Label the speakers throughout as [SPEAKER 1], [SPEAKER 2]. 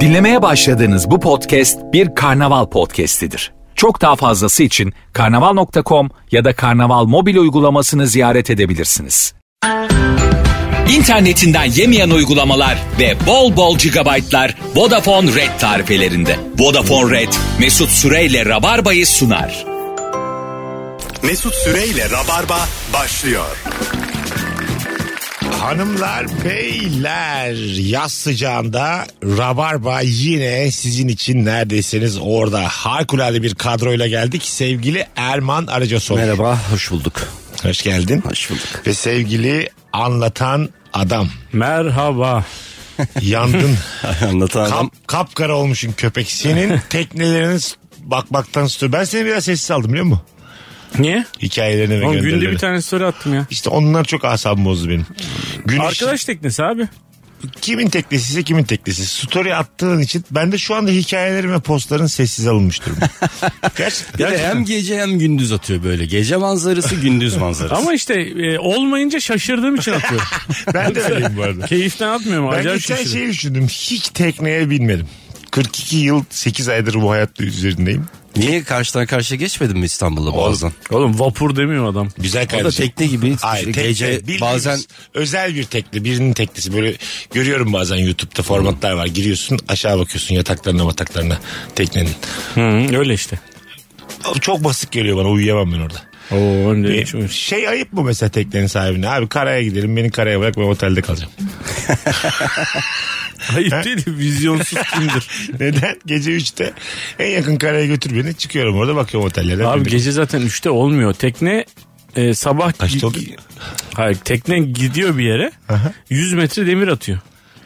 [SPEAKER 1] Dinlemeye başladığınız bu podcast bir karnaval podcastidir. Çok daha fazlası için karnaval.com ya da karnaval mobil uygulamasını ziyaret edebilirsiniz. İnternetinden yemeyen uygulamalar ve bol bol gigabaytlar Vodafone Red tarifelerinde. Vodafone Red, Mesut Süreyle Rabarba'yı sunar.
[SPEAKER 2] Mesut Süreyle Rabarba başlıyor.
[SPEAKER 3] Hanımlar, beyler yaz sıcağında Rabarba yine sizin için neredeyseniz orada harikulade bir kadroyla geldik. Sevgili Erman Aracasoğlu.
[SPEAKER 4] Merhaba, hoş bulduk.
[SPEAKER 3] Hoş geldin.
[SPEAKER 4] Hoş bulduk.
[SPEAKER 3] Ve sevgili anlatan adam.
[SPEAKER 5] Merhaba.
[SPEAKER 3] Yandın.
[SPEAKER 4] Anlatan adam.
[SPEAKER 3] Kap, kapkara olmuşsun köpek. Senin tekneleriniz bakmaktan tutuyor. Ben seni biraz sessiz aldım biliyor musun?
[SPEAKER 5] Niye?
[SPEAKER 3] Hikayelerine ve
[SPEAKER 5] Oğlum günde
[SPEAKER 3] gönderilerine.
[SPEAKER 5] bir tane story attım ya.
[SPEAKER 3] İşte onlar çok asabımı bozdu benim. Gün Arkadaş...
[SPEAKER 5] Arkadaş teknesi abi.
[SPEAKER 3] kimin teknesi ise kimin teknesi. Story attığın için ben de şu anda hikayelerim ve postların sessiz alınmış durumda. Gerçekten.
[SPEAKER 4] Bir de hem gece hem gündüz atıyor böyle. Gece manzarası, gündüz manzarası.
[SPEAKER 5] Ama işte e, olmayınca şaşırdığım için atıyorum.
[SPEAKER 3] Ben de öyleyim bu arada.
[SPEAKER 5] Keyiften atmıyorum.
[SPEAKER 3] Ben
[SPEAKER 5] Acayip
[SPEAKER 3] geçen
[SPEAKER 5] şaşırdım.
[SPEAKER 3] şeyi düşündüm. Hiç tekneye binmedim. 42 yıl 8 aydır bu hayatta üzerindeyim.
[SPEAKER 4] Niye karşıdan karşıya geçmedin mi İstanbul'da bazen?
[SPEAKER 5] Oğlum vapur demiyor adam.
[SPEAKER 3] Güzel
[SPEAKER 4] O da
[SPEAKER 3] kardeşim.
[SPEAKER 4] tekne gibi.
[SPEAKER 3] Hayır, tekne,
[SPEAKER 4] gece
[SPEAKER 3] bildiğimiz
[SPEAKER 4] bazen
[SPEAKER 3] özel bir tekne birinin teknesi böyle görüyorum bazen YouTube'da formatlar var giriyorsun aşağı bakıyorsun yataklarına mataklarına teknenin
[SPEAKER 5] Hı, öyle işte.
[SPEAKER 3] çok basık geliyor bana uyuyamam ben orada
[SPEAKER 5] Oo,
[SPEAKER 3] Bir
[SPEAKER 5] öyle değilmiş.
[SPEAKER 3] şey ayıp mı mesela teknenin sahibine abi karaya gidelim beni karaya bırak ben otelde kalacağım
[SPEAKER 5] Ayıp değil vizyonsuz kimdir?
[SPEAKER 3] neden gece 3'te en yakın karaya götür beni çıkıyorum orada bakıyorum otellere
[SPEAKER 5] abi
[SPEAKER 3] Bindim.
[SPEAKER 5] gece zaten 3'te olmuyor. Tekne e, sabah...
[SPEAKER 3] Kaçta oldu?
[SPEAKER 5] Hayır tekne gidiyor bir yere. 100 metre demir atıyor.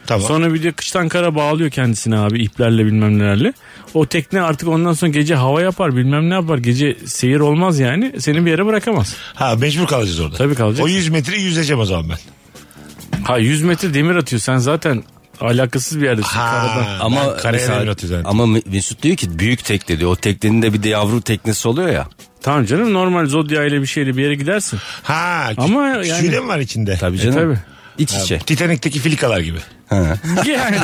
[SPEAKER 3] tamam.
[SPEAKER 5] Sonra bir de kıştan kara bağlıyor kendisini abi iplerle bilmem nelerle. O tekne artık ondan sonra gece hava yapar bilmem ne yapar. Gece seyir olmaz yani. Seni bir yere bırakamaz.
[SPEAKER 3] ha mecbur kalacağız orada
[SPEAKER 5] Tabii kalacak.
[SPEAKER 3] o 100 metre yüzeceğim o zaman ben
[SPEAKER 5] Ha 100 metre demir atıyor. Sen zaten alakasız bir yerdesin
[SPEAKER 3] ha,
[SPEAKER 5] karadan.
[SPEAKER 4] ama
[SPEAKER 3] ama karaya
[SPEAKER 4] mesela-
[SPEAKER 3] demir atıyor zaten.
[SPEAKER 4] ama Mesut diyor ki büyük tekne diyor. O teknenin de bir de yavru teknesi oluyor ya.
[SPEAKER 5] Tamam canım normal zodya ile bir şeyle bir yere gidersin.
[SPEAKER 3] ha
[SPEAKER 5] Ama
[SPEAKER 3] ama
[SPEAKER 5] yani-
[SPEAKER 3] suyla mı var içinde
[SPEAKER 4] Tabii
[SPEAKER 5] E,
[SPEAKER 4] canım. şey-
[SPEAKER 5] tabii.
[SPEAKER 4] İç içe.
[SPEAKER 3] Titanik'teki filikalar gibi.
[SPEAKER 5] Yani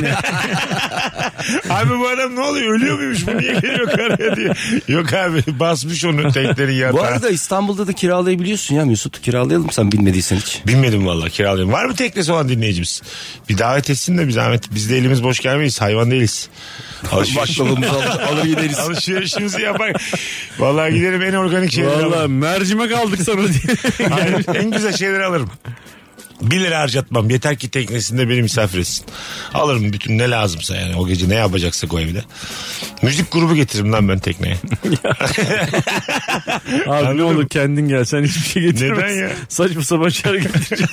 [SPEAKER 3] Abi bu adam ne oluyor? Ölüyor muymuş bu? Niye geliyor karaya diye. Yok abi basmış onu teknenin yatağı.
[SPEAKER 4] Bu arada İstanbul'da da kiralayabiliyorsun ya Mesut. Kiralayalım sen bilmediysen hiç.
[SPEAKER 3] Bilmedim valla kiralayayım. Var mı teknesi olan dinleyicimiz? Bir davet etsin de bir zahmet. Biz de elimiz boş gelmeyiz. Hayvan değiliz. Alışveriş-
[SPEAKER 4] Baklavamızı alır, alır gideriz.
[SPEAKER 3] Alışverişimizi yapar. Valla giderim en organik şeyleri
[SPEAKER 5] valla
[SPEAKER 3] alırım.
[SPEAKER 5] mercimek aldık sana diye.
[SPEAKER 3] Hayır, en güzel şeyleri alırım. Bir lira harcatmam. Yeter ki teknesinde beni misafir etsin. Alırım bütün ne lazımsa yani. O gece ne yapacaksak o evde. Müzik grubu getiririm lan ben tekneye.
[SPEAKER 5] Abi ne olur kendin gel sen hiçbir şey getirmezsin.
[SPEAKER 3] Neden ya?
[SPEAKER 5] Saçma sapan şeyler getirecek.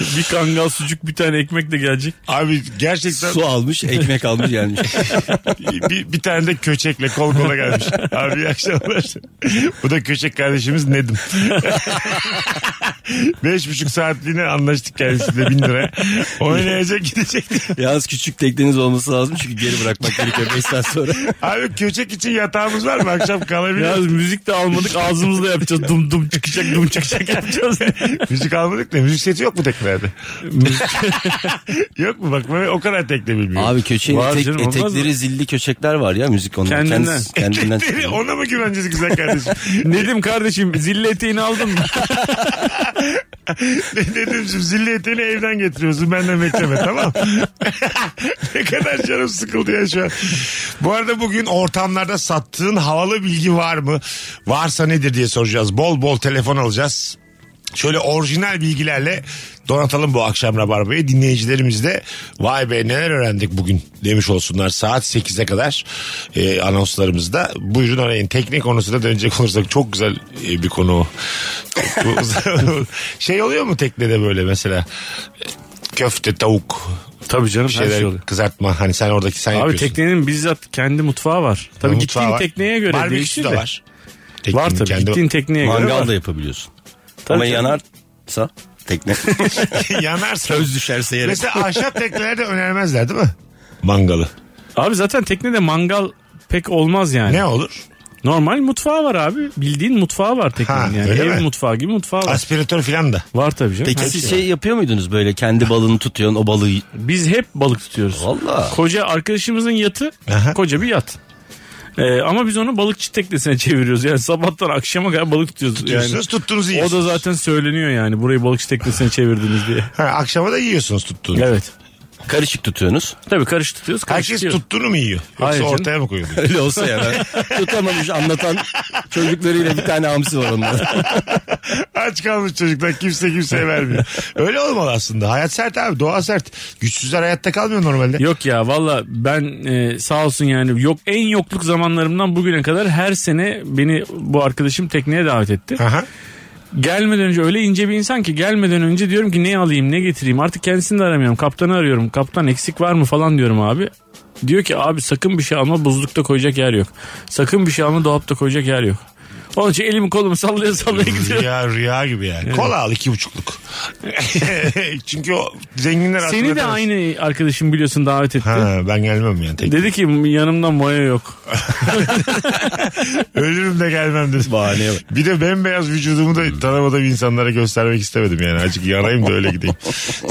[SPEAKER 5] bir kangal sucuk bir tane ekmek de gelecek.
[SPEAKER 3] Abi gerçekten
[SPEAKER 4] Su almış, ekmek almış yani.
[SPEAKER 3] bir, bir tane de köçekle kol kola gelmiş. Abi iyi akşamlar. Bu da köçek kardeşimiz Nedim. Beş buçuk saatliğine anlaştık kendisiyle bin lira. Oynayacak gidecek.
[SPEAKER 4] Yalnız küçük tekneniz olması lazım çünkü geri bırakmak gerekiyor 5 saat sonra.
[SPEAKER 3] Abi köçek için yatağımız var mı? Akşam
[SPEAKER 5] Ya
[SPEAKER 3] kalabiliriz.
[SPEAKER 5] müzik de almadık ağzımızla yapacağız. Dum dum çıkacak dum çıkacak yapacağız.
[SPEAKER 3] müzik almadık da müzik seti yok mu teknelerde? yok mu? Bak ben o kadar tekne bilmiyorum.
[SPEAKER 4] Abi köşeğin
[SPEAKER 5] Var
[SPEAKER 4] etek-
[SPEAKER 5] canım, olmaz
[SPEAKER 4] etekleri zilli köşekler var ya müzik onun.
[SPEAKER 5] Kendinden.
[SPEAKER 4] kendisi- kendinden.
[SPEAKER 3] Deli, Ona mı güveneceğiz güzel kardeşim?
[SPEAKER 5] Nedim kardeşim zille eteğini aldın mı?
[SPEAKER 3] Ne dedim şimdi zilli eteğini evden getiriyorsun benden bekleme tamam Ne kadar canım sıkıldı ya şu an. Bu arada bugün ortamlarda sattığın havalı bilgi var mı? Varsa nedir diye soracağız. Bol bol telefon alacağız. Şöyle orijinal bilgilerle donatalım bu akşam Rabarba'yı. Dinleyicilerimiz de vay be neler öğrendik bugün demiş olsunlar. Saat 8'e kadar e, anonslarımızda. Buyurun arayın. Teknik konusuna dönecek olursak çok güzel e, bir konu o. Bu- şey oluyor mu teknede böyle mesela? Köfte, tavuk,
[SPEAKER 5] Tabii canım
[SPEAKER 3] bir şeyler kızartma. Hani sen oradaki sen
[SPEAKER 5] şey Abi
[SPEAKER 3] şey yapıyorsun.
[SPEAKER 5] teknenin bizzat kendi mutfağı var. Tabii
[SPEAKER 3] Mutfağı
[SPEAKER 5] gittiğin
[SPEAKER 3] var.
[SPEAKER 5] tekneye göre
[SPEAKER 3] Barbeküsü
[SPEAKER 5] değişir
[SPEAKER 3] de
[SPEAKER 5] de.
[SPEAKER 3] var. Teknenin
[SPEAKER 5] Var tabii
[SPEAKER 3] kendi-
[SPEAKER 5] gittiğin tekneye göre
[SPEAKER 4] Mangal
[SPEAKER 5] var.
[SPEAKER 4] da yapabiliyorsun.
[SPEAKER 5] Tabii
[SPEAKER 4] Ama
[SPEAKER 5] canım.
[SPEAKER 4] yanarsa tekne.
[SPEAKER 3] Yanarsın.
[SPEAKER 4] Söz düşerse yere.
[SPEAKER 3] Mesela ahşap teknelerde önermezler değil mi? Mangalı.
[SPEAKER 5] Abi zaten teknede mangal pek olmaz yani.
[SPEAKER 3] Ne olur?
[SPEAKER 5] Normal mutfağı var abi. Bildiğin mutfağı var teknenin
[SPEAKER 3] Ha,
[SPEAKER 5] yani.
[SPEAKER 3] öyle
[SPEAKER 5] Ev
[SPEAKER 3] mi?
[SPEAKER 5] mutfağı gibi mutfağı var.
[SPEAKER 3] Aspiratör filan da.
[SPEAKER 5] var tabii canım.
[SPEAKER 4] Peki
[SPEAKER 5] Her
[SPEAKER 4] siz
[SPEAKER 5] şey
[SPEAKER 4] şey
[SPEAKER 5] var.
[SPEAKER 4] yapıyor muydunuz böyle kendi balını tutuyorsun o balığı?
[SPEAKER 5] Biz hep balık tutuyoruz.
[SPEAKER 4] Valla.
[SPEAKER 5] Koca arkadaşımızın yatı
[SPEAKER 3] Aha.
[SPEAKER 5] koca bir yat. Ee, ama biz onu balıkçı teknesine çeviriyoruz. Yani sabahtan akşama kadar balık tutuyoruz.
[SPEAKER 3] Tutuyorsunuz
[SPEAKER 5] yani.
[SPEAKER 3] tuttuğunuzu
[SPEAKER 5] O da
[SPEAKER 3] yiyorsunuz.
[SPEAKER 5] zaten söyleniyor yani burayı balıkçı teknesine çevirdiniz diye.
[SPEAKER 3] Ha, akşama da yiyorsunuz tuttuğunu.
[SPEAKER 5] Evet.
[SPEAKER 4] Karışık tutuyorsunuz.
[SPEAKER 5] Tabii karış tutuyoruz. karış
[SPEAKER 3] Herkes
[SPEAKER 5] tutuyoruz.
[SPEAKER 3] tuttuğunu mu yiyor? Yoksa
[SPEAKER 5] Hayır canım.
[SPEAKER 3] ortaya mı koyuluyor?
[SPEAKER 4] Öyle olsa ya ben tutamamış anlatan çocuklarıyla bir tane hamsi var onların.
[SPEAKER 3] Aç kalmış çocuklar kimse kimseye vermiyor. Öyle olmalı aslında. Hayat sert abi doğa sert. Güçsüzler hayatta kalmıyor normalde.
[SPEAKER 5] Yok ya valla ben e, sağ olsun yani yok en yokluk zamanlarımdan bugüne kadar her sene beni bu arkadaşım tekneye davet etti.
[SPEAKER 3] Aha.
[SPEAKER 5] Gelmeden önce öyle ince bir insan ki gelmeden önce diyorum ki ne alayım ne getireyim artık kendisini de aramıyorum kaptanı arıyorum kaptan eksik var mı falan diyorum abi. Diyor ki abi sakın bir şey alma buzlukta koyacak yer yok. Sakın bir şey alma dolapta koyacak yer yok. Onun için elimi kolumu sallaya sallaya gidiyorum.
[SPEAKER 3] Rüya rüya gibi yani. Kola al iki buçukluk. Çünkü o zenginler
[SPEAKER 5] Seni de
[SPEAKER 3] hatırlatamaz.
[SPEAKER 5] aynı arkadaşım biliyorsun davet etti.
[SPEAKER 3] Ha, ben gelmem yani. Tek.
[SPEAKER 5] Dedi ki yanımda maya yok.
[SPEAKER 3] Ölürüm de gelmem dedim.
[SPEAKER 4] Bahaneye bak.
[SPEAKER 3] Bir de bembeyaz vücudumu da tanımadığım insanlara göstermek istemedim yani. Azıcık yanayım da öyle gideyim.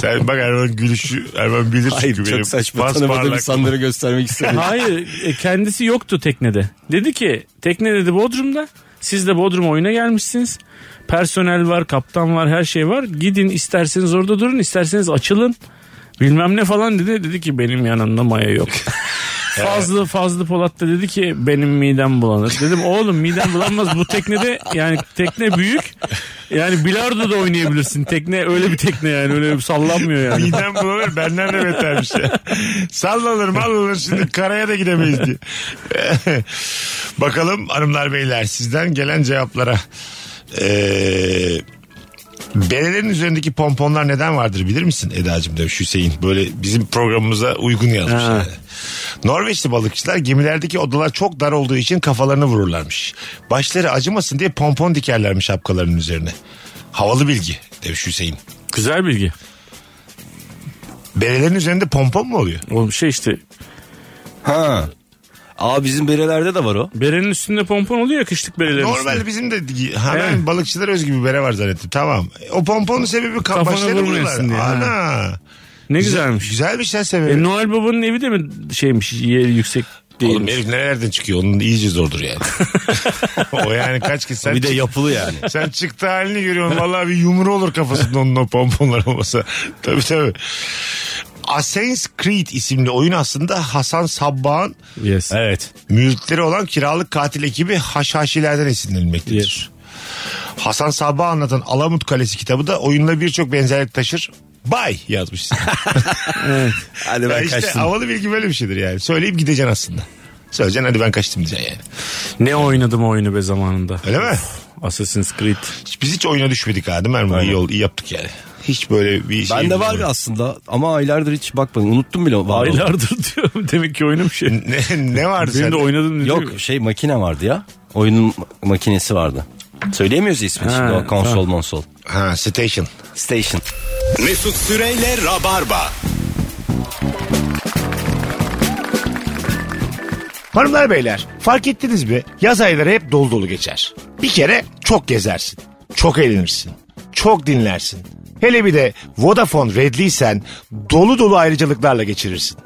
[SPEAKER 3] Sen bak Erman gülüşü Erman bilir çünkü
[SPEAKER 4] Hayır
[SPEAKER 3] benim.
[SPEAKER 4] çok saçma
[SPEAKER 3] basparlak-
[SPEAKER 4] tanımadığım insanları göstermek istemiyorum.
[SPEAKER 5] Hayır e, kendisi yoktu teknede. Dedi ki tekne dedi Bodrum'da. Siz de Bodrum oyuna gelmişsiniz. Personel var, kaptan var, her şey var. Gidin isterseniz orada durun, isterseniz açılın. Bilmem ne falan dedi. Dedi ki benim yanımda maya yok. Fazlı Fazlı Polat da dedi ki benim midem bulanır. Dedim oğlum midem bulanmaz bu teknede yani tekne büyük. Yani bilardo da oynayabilirsin. Tekne öyle bir tekne yani öyle bir sallanmıyor yani.
[SPEAKER 3] Midem bulanır benden de betermiş ya. Sallanır mallanır şimdi karaya da gidemeyiz diye. Bakalım hanımlar beyler sizden gelen cevaplara. Ee, Berelerin üzerindeki pomponlar neden vardır bilir misin Eda'cığım demiş Hüseyin. Böyle bizim programımıza uygun yazmış.
[SPEAKER 5] Ha.
[SPEAKER 3] yani. Norveçli balıkçılar gemilerdeki odalar çok dar olduğu için kafalarını vururlarmış. Başları acımasın diye pompon dikerlermiş şapkalarının üzerine. Havalı bilgi demiş Hüseyin.
[SPEAKER 5] Güzel bilgi.
[SPEAKER 3] Berelerin üzerinde pompon mu oluyor?
[SPEAKER 5] Oğlum şey işte
[SPEAKER 4] Ha. Aa bizim berelerde de var o.
[SPEAKER 5] Berenin üstünde pompon oluyor ya kışlık berelerin üstünde.
[SPEAKER 3] Normalde bizim de ha, ben
[SPEAKER 5] Evet.
[SPEAKER 3] balıkçılar özgü bir bere var zannettim. Tamam. E, O pomponun sebebi ka-
[SPEAKER 5] Kafana
[SPEAKER 3] başları
[SPEAKER 5] vurmayasın
[SPEAKER 3] vururlar.
[SPEAKER 5] diye, ha.
[SPEAKER 3] Ana.
[SPEAKER 5] Ne güzelmiş.
[SPEAKER 3] Güzelmiş sen
[SPEAKER 5] E,
[SPEAKER 3] sebebi.
[SPEAKER 5] Noel Baba'nın evi de mi şeymiş yeri yüksek
[SPEAKER 3] Oğlum
[SPEAKER 5] değilmiş.
[SPEAKER 3] herif nerelerden çıkıyor? Onun iyice zordur yani. o yani kaç kez sen
[SPEAKER 4] Bir de
[SPEAKER 3] çık-
[SPEAKER 4] yapılı yani.
[SPEAKER 3] sen çıktı halini görüyorsun. Vallahi bir yumru olur kafasında onun o pomponlar olmasa. tabii tabii. Assassin's Creed isimli oyun aslında Hasan Sabbah'ın
[SPEAKER 5] Yes.
[SPEAKER 4] Evet.
[SPEAKER 3] mülkleri olan kiralık katil ekibi haşhaşilerden esinlenmektedir.
[SPEAKER 5] Yes.
[SPEAKER 3] Hasan Sabbah anlatan Alamut Kalesi kitabı da oyunla birçok benzerlik taşır. Bay yazmış.
[SPEAKER 4] Hadi
[SPEAKER 3] ya
[SPEAKER 4] ben
[SPEAKER 3] işte
[SPEAKER 4] kaçtım.
[SPEAKER 3] havalı bilgi böyle bir şeydir yani. Söyleyip gideceksin aslında. Söyleyeceksin hadi ben kaçtım diyeceksin yani.
[SPEAKER 5] Ne oynadım o oyunu be zamanında.
[SPEAKER 3] Öyle mi?
[SPEAKER 5] Assassin's Creed.
[SPEAKER 3] Hiç- Biz hiç oyuna düşmedik ha değil mi Erman? İyi, oldu, iyi yaptık yani. Hiç böyle bir şey.
[SPEAKER 4] Ben de var aslında ama aylardır hiç bakmadım. Unuttum bile. Var olduğunu.
[SPEAKER 5] Aylardır diyorum. Demek ki oynamış. ya.
[SPEAKER 3] Ne, ne vardı
[SPEAKER 5] Benim de
[SPEAKER 3] sende?
[SPEAKER 5] oynadım dedi.
[SPEAKER 4] Yok şey makine vardı ya. Oyunun ma- makinesi vardı. Söyleyemiyoruz ismini
[SPEAKER 5] Ha,
[SPEAKER 4] şimdi o konsol
[SPEAKER 5] tamam.
[SPEAKER 4] monsol.
[SPEAKER 3] Ha station.
[SPEAKER 4] Station.
[SPEAKER 2] Mesut Süreyle Rabarba.
[SPEAKER 3] Hanımlar beyler fark ettiniz mi? Yaz ayları hep dolu dolu geçer. Bir kere çok gezersin. Çok eğlenirsin. Çok dinlersin. Hele bir de Vodafone Redliysen dolu dolu ayrıcalıklarla geçirirsin.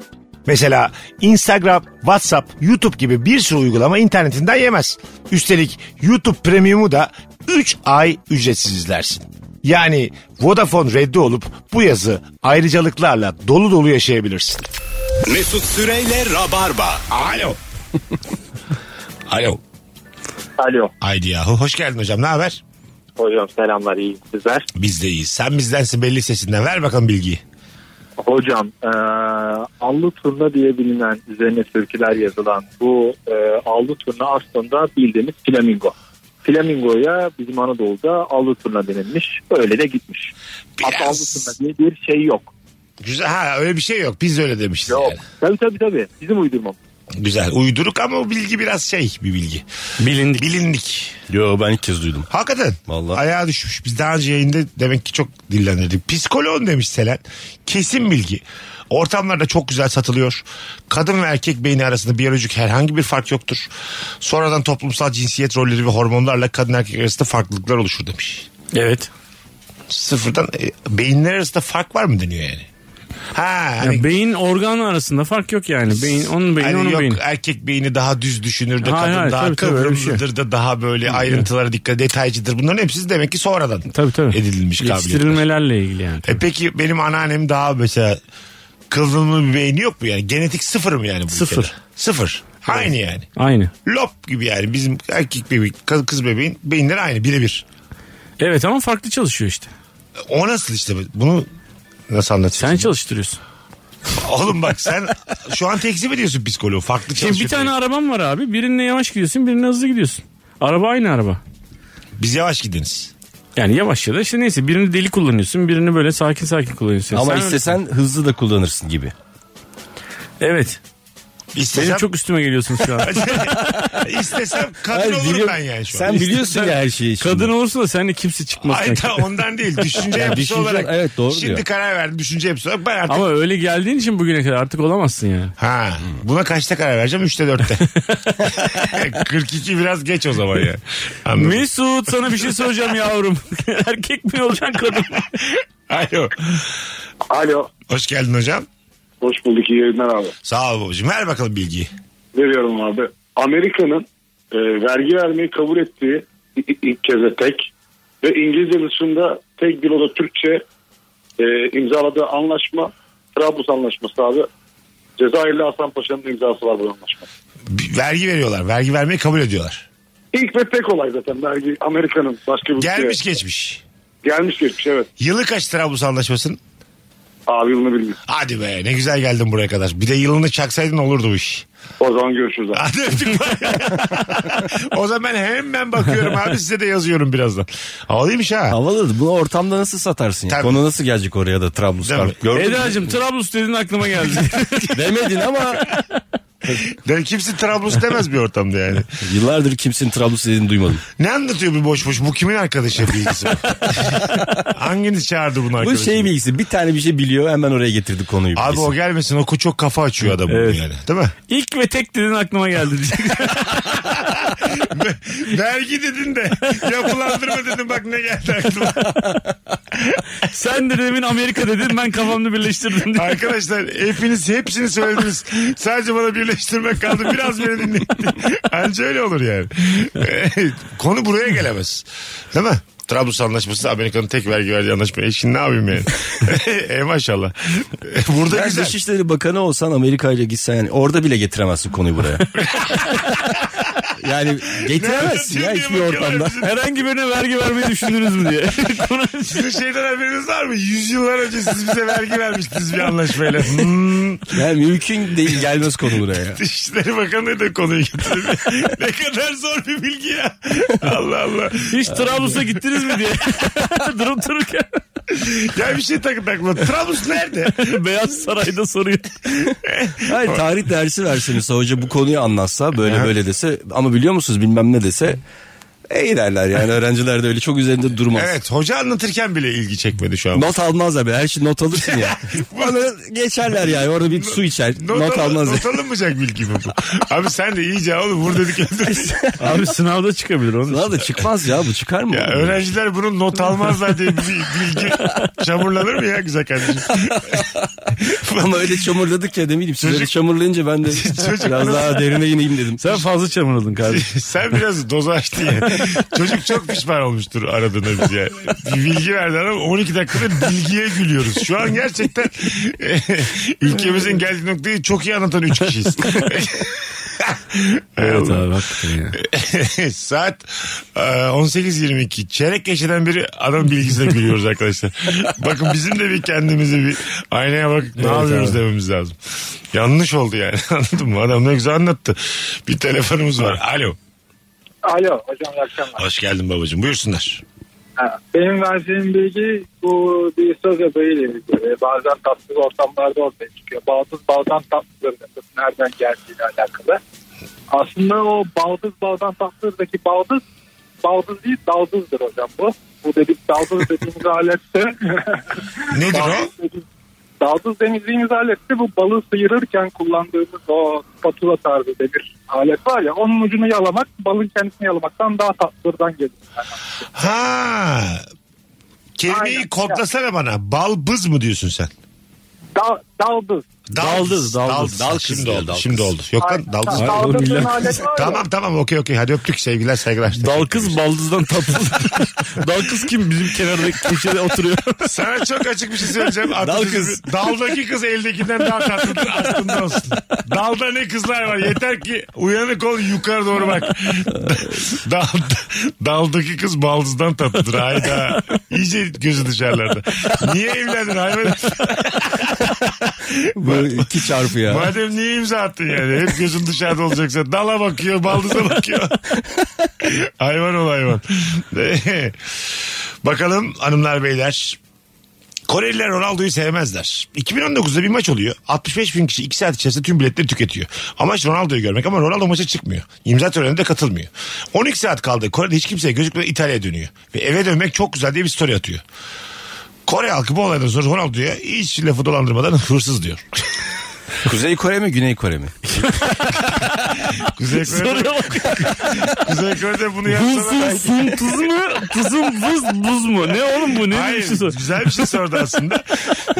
[SPEAKER 3] Mesela Instagram, WhatsApp, YouTube gibi bir sürü uygulama internetinden yemez. Üstelik YouTube Premium'u da 3 ay ücretsiz izlersin. Yani Vodafone Red'de olup bu yazı ayrıcalıklarla dolu dolu yaşayabilirsin.
[SPEAKER 2] Mesut Süreyle Rabarba.
[SPEAKER 3] Alo. Alo.
[SPEAKER 6] Alo.
[SPEAKER 3] Haydi yahu. Hoş geldin hocam. Ne haber?
[SPEAKER 6] Hocam selamlar iyi sizler.
[SPEAKER 3] Biz de iyiyiz. Sen bizdensin belli sesinden. Ver bakalım bilgiyi.
[SPEAKER 6] Hocam e, allı turna diye bilinen üzerine sürküler yazılan bu e, allı turna aslında bildiğimiz flamingo. Flamingoya bizim Anadolu'da allı turna denilmiş. Öyle de gitmiş. Hatta allı
[SPEAKER 3] Biraz.
[SPEAKER 6] turna diye bir şey yok.
[SPEAKER 3] Güzel. Ha öyle bir şey yok. Biz de öyle demişiz.
[SPEAKER 6] Yok.
[SPEAKER 3] yani.
[SPEAKER 6] Tabii tabii tabii. Bizim uydurmamız.
[SPEAKER 3] Güzel. Uyduruk ama o bilgi biraz şey bir bilgi.
[SPEAKER 5] Bilindik.
[SPEAKER 3] Bilindik.
[SPEAKER 4] Yo ben ilk kez duydum.
[SPEAKER 3] Hakikaten.
[SPEAKER 4] Vallahi.
[SPEAKER 3] Ayağa düşmüş. Biz daha önce yayında demek ki çok dillendirdik. Psikoloğun demiş Selen. Kesin bilgi. Ortamlarda çok güzel satılıyor. Kadın ve erkek beyni arasında biyolojik herhangi bir fark yoktur. Sonradan toplumsal cinsiyet rolleri ve hormonlarla kadın erkek arasında farklılıklar oluşur demiş.
[SPEAKER 5] Evet.
[SPEAKER 3] Sıfırdan e, beyinler arasında fark var mı deniyor yani? Ha, hani-
[SPEAKER 5] Ya beyin organı arasında fark yok yani. Beyin onun beyni
[SPEAKER 3] Hani
[SPEAKER 5] onun
[SPEAKER 3] yok
[SPEAKER 5] beyni.
[SPEAKER 3] erkek beyni daha düz düşünür de
[SPEAKER 5] Hayır,
[SPEAKER 3] kadın
[SPEAKER 5] hayır,
[SPEAKER 3] daha
[SPEAKER 5] tabii, tabii, öyle bir şey.
[SPEAKER 3] kıvrımlıdır da daha böyle ayrıntılara dikkat detaycıdır. Bunların hepsi demek ki sonradan
[SPEAKER 5] Tabii tabii.
[SPEAKER 3] edilmiş kabiliyetler.
[SPEAKER 5] Yetiştirilmelerle ilgili yani.
[SPEAKER 3] E peki benim anneannem daha mesela kıvrımlı bir beyni yok mu yani? Genetik sıfır mı yani bu
[SPEAKER 5] Sıfır.
[SPEAKER 3] ülkede? Sıfır. Aynı yani.
[SPEAKER 5] Aynı.
[SPEAKER 3] Lop gibi yani bizim erkek bebeğin kız, kız bebeğin beyinleri aynı birebir.
[SPEAKER 5] Evet ama farklı çalışıyor işte.
[SPEAKER 3] O nasıl işte bunu nasıl anlatıyorsun?
[SPEAKER 5] Sen çalıştırıyorsun.
[SPEAKER 3] Oğlum bak sen şu an tekzip ediyorsun psikoloğu. Farklı
[SPEAKER 5] Şimdi bir
[SPEAKER 3] çalışıyor.
[SPEAKER 5] tane arabam var abi. Birine yavaş gidiyorsun, birine hızlı gidiyorsun. Araba aynı araba.
[SPEAKER 3] Biz yavaş gidiniz.
[SPEAKER 5] Yani yavaş ya da işte neyse birini deli kullanıyorsun, birini böyle sakin sakin kullanıyorsun.
[SPEAKER 4] Ama
[SPEAKER 5] E Sen
[SPEAKER 4] istesen hızlı da kullanırsın gibi.
[SPEAKER 5] öyle- Evet.
[SPEAKER 3] İstesem,
[SPEAKER 5] Benim çok üstüme geliyorsun şu an.
[SPEAKER 3] istesem kadın
[SPEAKER 4] Hayır,
[SPEAKER 3] olurum
[SPEAKER 4] biliyorum.
[SPEAKER 3] ben yani şu an.
[SPEAKER 4] Sen biliyorsun ya her şeyi. şimdi.
[SPEAKER 5] Kadın olursa da seninle kimse çıkmaz.
[SPEAKER 3] Ay
[SPEAKER 5] kanka.
[SPEAKER 3] da ondan değil. Düşünce yapısı
[SPEAKER 4] düşünce-
[SPEAKER 3] olarak.
[SPEAKER 4] evet, doğru
[SPEAKER 3] Şimdi
[SPEAKER 4] diyor.
[SPEAKER 3] karar verdim. Düşünce yapısı olarak ben artık.
[SPEAKER 5] Ama öyle geldiğin için bugüne kadar artık olamazsın yani.
[SPEAKER 3] Ha, buna kaçta karar vereceğim? Üçte dörtte. 42 biraz geç o zaman ya. Anladım.
[SPEAKER 5] Mesut sana bir şey soracağım yavrum. Erkek mi olacaksın kadın mı?
[SPEAKER 3] Alo.
[SPEAKER 6] Alo.
[SPEAKER 3] Hoş geldin hocam.
[SPEAKER 6] Hoş bulduk iyi yayınlar abi.
[SPEAKER 3] Sağ ol babacığım. Ver bakalım bilgiyi.
[SPEAKER 6] Veriyorum abi. Amerika'nın e, vergi vermeyi kabul ettiği i- i- ilk kez de tek ve İngilizce dışında tek bir oda Türkçe e, imzaladığı anlaşma Trablus Anlaşması abi. Cezayirli Hasan Paşa'nın imzası var bu anlaşma.
[SPEAKER 3] Bir- Vergi veriyorlar. Vergi vermeyi kabul ediyorlar.
[SPEAKER 6] İlk ve tek olay zaten vergi Amerika'nın başka bir ülkeye-
[SPEAKER 3] Gelmiş geçmiş.
[SPEAKER 6] Gelmiş geçmiş evet.
[SPEAKER 3] Yılı kaç Trablus Anlaşması'nın?
[SPEAKER 6] Abi yılını bilmiyorum.
[SPEAKER 3] Hadi be ne güzel geldin buraya kadar. Bir de yılını çaksaydın olurdu bu iş.
[SPEAKER 6] O zaman görüşürüz abi.
[SPEAKER 3] Hadi öptük. o zaman ben hemen bakıyorum abi size de yazıyorum birazdan. Havalıymış ha.
[SPEAKER 4] Havalı. Bunu ortamda nasıl satarsın? Ya?
[SPEAKER 3] Tabii.
[SPEAKER 4] Konu nasıl gelecek oraya da
[SPEAKER 3] Değil mi?
[SPEAKER 4] Trablusgarp? Gördün mü?
[SPEAKER 5] Eda'cığım Trablus dedin aklıma geldi.
[SPEAKER 4] Demedin ama
[SPEAKER 3] Yani kimse Trablus demez bir ortamda yani.
[SPEAKER 4] yıllardır kimsenin Trablus dediğini duymadım.
[SPEAKER 3] Ne anlatıyor bu boş boş? Bu kimin arkadaşı bilgisi? bu? Hanginiz çağırdı bunu
[SPEAKER 4] Bu
[SPEAKER 3] arkadaşı?
[SPEAKER 4] şey bilgisi. Bir tane bir şey biliyor hemen oraya getirdi konuyu.
[SPEAKER 3] Abi
[SPEAKER 4] bilgisi.
[SPEAKER 3] o gelmesin o çok kafa açıyor adamın
[SPEAKER 5] Evet.
[SPEAKER 3] yani. Değil mi?
[SPEAKER 5] İlk ve tek dedin aklıma geldi.
[SPEAKER 3] Vergi dedin de yapılandırma dedin bak ne geldi aklıma.
[SPEAKER 5] Sen de demin Amerika dedin ben kafamda birleştirdim. diye.
[SPEAKER 3] Arkadaşlar hepiniz hepsini söylediniz. Sadece bana birleştirmek kaldı. Biraz beni dinleyin. Anca öyle olur yani. Konu buraya gelemez. Değil mi? Trablus Anlaşması Amerika'nın tek vergi verdiği anlaşma. E şimdi ne yapayım yani? e maşallah. Burada
[SPEAKER 4] Ben
[SPEAKER 3] güzel.
[SPEAKER 4] Dışişleri Bakanı olsan Amerika ile gitsen yani orada bile getiremezsin konuyu buraya. yani getiremezsin ya
[SPEAKER 3] Nereden
[SPEAKER 4] hiçbir
[SPEAKER 3] diye bakıyorlar
[SPEAKER 4] ortamda.
[SPEAKER 3] bizi?
[SPEAKER 5] Herhangi birine vergi vermeyi düşündünüz mü diye.
[SPEAKER 3] Sizin şeyden haberiniz var mı? Yüzyıllar önce siz bize vergi vermiştiniz bir anlaşmayla. Hmm.
[SPEAKER 4] Yani mümkün değil gelmez konu buraya.
[SPEAKER 3] Dışişleri Bakanı da konuyu getirdi. ne kadar zor bir bilgi ya. Allah Allah.
[SPEAKER 5] Hiç Trablus'a gittiniz mi diye. Durup dururken
[SPEAKER 3] Ya bir şey takın takma. Trablus nerede?
[SPEAKER 5] Beyaz Saray'da soruyor.
[SPEAKER 4] Hayır tarih dersi verseniz hoca bu konuyu anlatsa böyle böyle dese ama biliyor musunuz bilmem ne dese e derler yani öğrenciler de öyle çok üzerinde durmaz.
[SPEAKER 3] Evet hoca anlatırken bile ilgi çekmedi şu an.
[SPEAKER 4] Not almazlar be her şey not alırsın ya. Bana geçerler yani orada bir su içer
[SPEAKER 3] al-
[SPEAKER 4] not, almaz.
[SPEAKER 3] Not alınmayacak bilgi mi bu? Abi sen de iyice oğlum vur dedik öldürdük.
[SPEAKER 5] Abi sınavda çıkabilir onu.
[SPEAKER 4] Lan da çıkmaz ya bu çıkar mı?
[SPEAKER 3] Ya öğrenciler bunun not almazlar diye bir bilgi çamurlanır mı ya güzel kardeşim?
[SPEAKER 4] Ama öyle çamurladık ya ne bileyim sizleri
[SPEAKER 3] Çocuk-
[SPEAKER 4] çamurlayınca ben de biraz daha derine ineyim dedim.
[SPEAKER 5] Sen fazla çamurladın kardeşim.
[SPEAKER 3] Sen biraz doz açtın ya. Çocuk çok pişman olmuştur aradığına bize. Bir bilgi verdi adam 12 dakikada bilgiye gülüyoruz. Şu an gerçekten e, ülkemizin geldiği noktayı çok iyi anlatan 3 kişiyiz. Hay
[SPEAKER 5] Evet
[SPEAKER 3] Allah.
[SPEAKER 5] abi hakikaten ya.
[SPEAKER 3] Saat e, 18.22. Çeyrek geçeden beri adam bilgisine gülüyoruz arkadaşlar. Bakın bizim de bir kendimizi bir aynaya bak ne yapıyoruz dememiz lazım. Yanlış oldu yani anladın mı? Adam ne güzel anlattı. Bir telefonumuz var. Alo.
[SPEAKER 6] Alo hocam iyi akşamlar.
[SPEAKER 3] Hoş geldin babacığım. Buyursunlar.
[SPEAKER 6] Ha, Benim verdiğim bilgi bu bir söz adayıyla ilgili. Bazen tatsız ortamlarda ortaya çıkıyor. Baldız baldan tatsızdır lafın nereden geldiğiyle alakalı. Aslında o baldız baldan tatsızdaki baldız baldız değil daldızdır hocam bu. Bu dedik daldız dediğimiz alette
[SPEAKER 3] Nedir o?
[SPEAKER 6] daldız dediğimiz- daldız denizliğimiz alette bu balığı sıyırırken kullandığımız o spatula tarzı bir alet var ya onun ucunu yalamak balın kendisini yalamaktan daha tatlıdan gelir. Yani
[SPEAKER 3] Ha. Kelimeyi
[SPEAKER 6] Aynen.
[SPEAKER 3] kodlasana bana. Balbız mı diyorsun sen?
[SPEAKER 6] dal, daldız.
[SPEAKER 5] Daldız, daldız.
[SPEAKER 4] Dal kız
[SPEAKER 3] şimdi
[SPEAKER 4] diyor,
[SPEAKER 3] oldu.
[SPEAKER 4] dal
[SPEAKER 3] Şimdi
[SPEAKER 4] kız.
[SPEAKER 3] oldu. Yok lan
[SPEAKER 6] Aynen.
[SPEAKER 3] daldız.
[SPEAKER 5] Ay, oğlum,
[SPEAKER 6] Daldırdığın
[SPEAKER 5] billahi.
[SPEAKER 6] alet var ya.
[SPEAKER 3] Tamam tamam okey okey hadi öptük sevgiler saygılar.
[SPEAKER 5] Dal kız baldızdan tatlı. Dal kız kim? Bizim kenardaki köşede oturuyor.
[SPEAKER 3] Sana çok açık bir şey söyleyeceğim.
[SPEAKER 4] Dal
[SPEAKER 3] Atasözü-
[SPEAKER 4] kız.
[SPEAKER 3] Daldaki kız eldekinden daha tatlıdır aslında olsun. Dalda ne kızlar var yeter ki uyanık ol yukarı doğru bak. Dal, daldaki kız baldızdan tatlıdır hayda. İyice gözü dışarılarda. Niye evlendin hayvan?
[SPEAKER 4] Bu iki çarpı ya.
[SPEAKER 3] Madem niye imza attın yani? Hep gözün dışarıda olacaksa dala bakıyor, baldıza bakıyor. hayvan ol hayvan. Bakalım hanımlar beyler. Koreliler Ronaldo'yu sevmezler. 2019'da bir maç oluyor. 65 bin kişi 2 saat içerisinde tüm biletleri tüketiyor. Amaç Ronaldo'yu görmek ama Ronaldo maça çıkmıyor. İmza törenine de katılmıyor. 12 saat kaldı. Kore'de hiç kimseye gözükmeden İtalya'ya dönüyor. Ve eve dönmek çok güzel diye bir story atıyor. Kore halkı bu olaydan sonra Ronaldo'ya hiç lafı dolandırmadan hırsız diyor.
[SPEAKER 4] Kuzey Kore mi Güney Kore mi?
[SPEAKER 3] Kuzey Kore'de
[SPEAKER 5] Soruya bak.
[SPEAKER 3] Kuzey Kore'de bunu yapsana.
[SPEAKER 5] Buzsun
[SPEAKER 3] belki-
[SPEAKER 5] sun tuz mu? Tuzun buz buz mu? Ne oğlum bu? Ne diye bir
[SPEAKER 3] Hayır
[SPEAKER 5] şey sor.
[SPEAKER 3] güzel bir şey sordu aslında.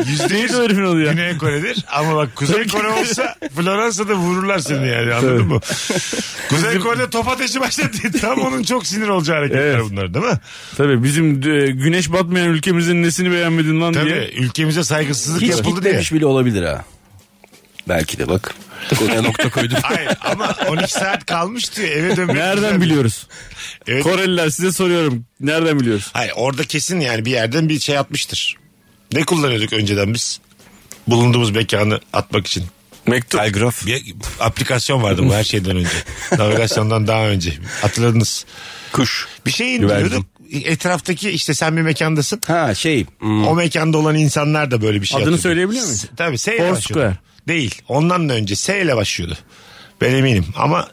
[SPEAKER 3] Yüzde yüz
[SPEAKER 5] Neydi öğrenimin adı ya?
[SPEAKER 3] Güney Kore'dir ama bak Kuzey Kore olsa Floransa'da vururlar seni yani anladın mı? Kuzey Kore'de top ateşi başladı. Tam onun çok sinir olacağı hareketler
[SPEAKER 5] Evet.
[SPEAKER 3] bunlar değil mi?
[SPEAKER 5] Tabii bizim e, güneş batmayan ülkemizin nesini beğenmedin lan
[SPEAKER 3] Tabii
[SPEAKER 5] diye.
[SPEAKER 3] ülkemize saygısızlık
[SPEAKER 4] Hiç
[SPEAKER 3] yapıldı diye.
[SPEAKER 4] gitmemiş bile olabilir ha. Belki de bak. Konuya nokta koydum.
[SPEAKER 3] Hayır ama 12 saat kalmıştı eve dönmek.
[SPEAKER 5] Nereden
[SPEAKER 3] güzel.
[SPEAKER 5] biliyoruz?
[SPEAKER 3] Evet.
[SPEAKER 5] Koreliler size soruyorum. Nereden biliyoruz?
[SPEAKER 3] Hayır orada kesin yani bir yerden bir şey atmıştır. Ne kullanıyorduk önceden biz? Bulunduğumuz mekanı atmak için.
[SPEAKER 4] Mektup. Telgraf.
[SPEAKER 3] Bir aplikasyon vardı bu her şeyden önce. Navigasyondan daha önce. Hatırladınız.
[SPEAKER 4] Kuş.
[SPEAKER 3] Bir şey
[SPEAKER 4] Güvercin.
[SPEAKER 3] indiriyorduk. Etraftaki işte sen bir mekandasın.
[SPEAKER 4] Ha şey. hmm,
[SPEAKER 3] O mekanda olan insanlar da böyle bir şey
[SPEAKER 5] Adını
[SPEAKER 3] atıyordu.
[SPEAKER 5] söyleyebiliyor muyum?
[SPEAKER 3] S- Tabii S ile
[SPEAKER 5] Foursquare.
[SPEAKER 3] başlıyordu. Değil. Ondan da önce S ile başlıyordu. Ben eminim ama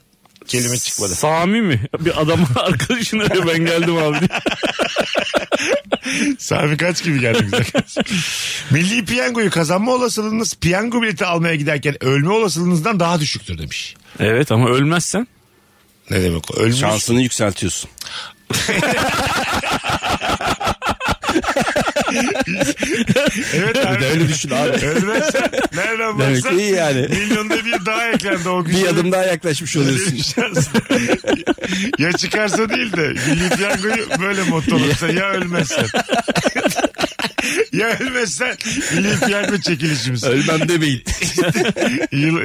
[SPEAKER 3] kelime çıkmadı.
[SPEAKER 5] Sami mi? Bir adam arkadaşını arıyor ben geldim abi diye.
[SPEAKER 3] Sami kaç gibi geldi bize. Milli piyangoyu kazanma olasılığınız piyango bileti almaya giderken ölme olasılığınızdan daha düşüktür demiş.
[SPEAKER 5] Evet ama ölmezsen.
[SPEAKER 3] Ne demek o? Ölmüş.
[SPEAKER 4] Şansını yükseltiyorsun.
[SPEAKER 3] Evet abi.
[SPEAKER 4] Öyle düşün abi.
[SPEAKER 3] Ölmezsen nereden
[SPEAKER 4] Demek
[SPEAKER 3] baksan
[SPEAKER 4] ki iyi yani.
[SPEAKER 3] milyonda bir daha eklendi o gün.
[SPEAKER 4] Bir adım daha yaklaşmış oluyorsun.
[SPEAKER 3] Şans. ya çıkarsa değil de Milli Piyango'yu böyle motto olursa ya ölmezsen. ya ölmezsen Milli Piyango çekilişimiz.
[SPEAKER 4] Ölmem demeyin.
[SPEAKER 3] Yıl,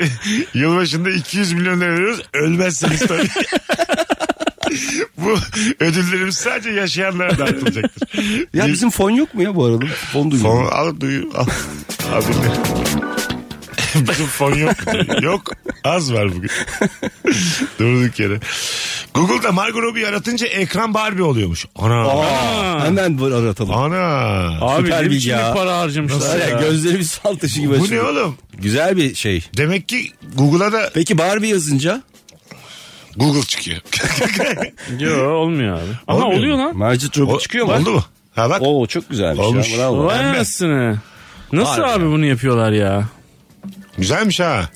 [SPEAKER 3] yılbaşında 200 milyon lira veriyoruz. Ölmezsiniz tabii. Bu ödüllerimiz sadece yaşayanlara dağıtılacaktır.
[SPEAKER 4] Ya bizim fon yok mu ya bu arada? Fon duyuyorum.
[SPEAKER 3] Fon al duyu al. Al dinle. Bizim fon yok. Yok az var bugün. Durduk yere. Google'da Margot Robbie aratınca ekran Barbie oluyormuş. Ana.
[SPEAKER 4] Aa, hemen bu aratalım.
[SPEAKER 3] Ana.
[SPEAKER 5] Abi
[SPEAKER 4] Süper
[SPEAKER 5] ne
[SPEAKER 4] bilgi
[SPEAKER 5] biçim
[SPEAKER 4] ya.
[SPEAKER 5] bir para harcamışlar
[SPEAKER 4] Var ya,
[SPEAKER 5] ya.
[SPEAKER 4] Gözleri bir sal taşı gibi
[SPEAKER 3] Bu ne
[SPEAKER 4] açılıyor.
[SPEAKER 3] oğlum?
[SPEAKER 4] Güzel bir şey.
[SPEAKER 3] Demek ki Google'a da
[SPEAKER 4] Peki Barbie yazınca?
[SPEAKER 3] Google çıkıyor.
[SPEAKER 5] Yo, olmuyor abi. Ama
[SPEAKER 3] Olmuyor
[SPEAKER 5] oluyor lan.
[SPEAKER 4] Margot
[SPEAKER 3] O-
[SPEAKER 4] Robbie çıkıyor mu?
[SPEAKER 3] Oldu mu? Ha bak.
[SPEAKER 4] Oo çok güzelmiş.
[SPEAKER 3] Olmuş.
[SPEAKER 4] Ya, bravo.
[SPEAKER 5] Vay anasını. Nasıl abi bunu yapıyorlar ya?
[SPEAKER 3] Güzelmiş ha.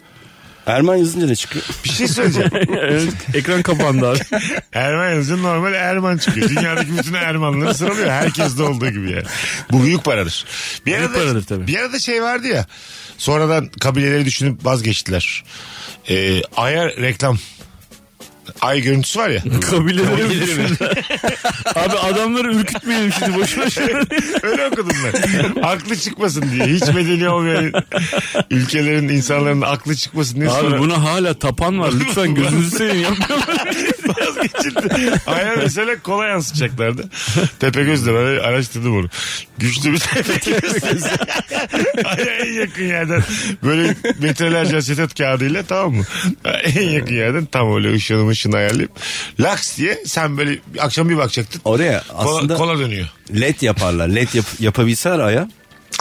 [SPEAKER 4] Erman yazınca ne çıkıyor?
[SPEAKER 3] Bir şey söyleyeceğim.
[SPEAKER 5] Evet, Ekran kapandı abi.
[SPEAKER 3] Erman yazınca normal Erman çıkıyor. Dünyadaki bütün Ermanları sıralıyor. Herkes de olduğu gibi yani. Bu büyük paradır. Bir
[SPEAKER 5] Büyük paradır tabii.
[SPEAKER 3] Bir arada şey vardı ya. Sonradan kabileleri düşünüp vazgeçtiler. Ee, aya reklam. Ay görüntüsü var ya.
[SPEAKER 5] Kabileleri mi? Abi adamları ürkütmeyelim şimdi şey boş boş.
[SPEAKER 3] Öyle okudum ben. Aklı çıkmasın diye. Hiç bedeli olmayan ülkelerin insanların aklı çıkmasın diye.
[SPEAKER 5] Abi
[SPEAKER 3] sonra-
[SPEAKER 5] buna hala tapan var. Lütfen gözünüzü seveyim yapmayalım.
[SPEAKER 3] Biraz geçildi. Aya mesela kola yansıtacaklardı. Tepegöz de ben araştırdım onu. Güçlü bir Tepegöz. Aya en yakın yerden böyle metrelerce asetat kağıdıyla tamam mı? en yakın yerden tam öyle ışığını ışığını ayarlayıp laks diye sen böyle akşam bir bakacaktın.
[SPEAKER 4] Oraya
[SPEAKER 3] Kola,
[SPEAKER 4] aslında
[SPEAKER 3] kola dönüyor.
[SPEAKER 4] led yaparlar. Led yap- yapabilseler aya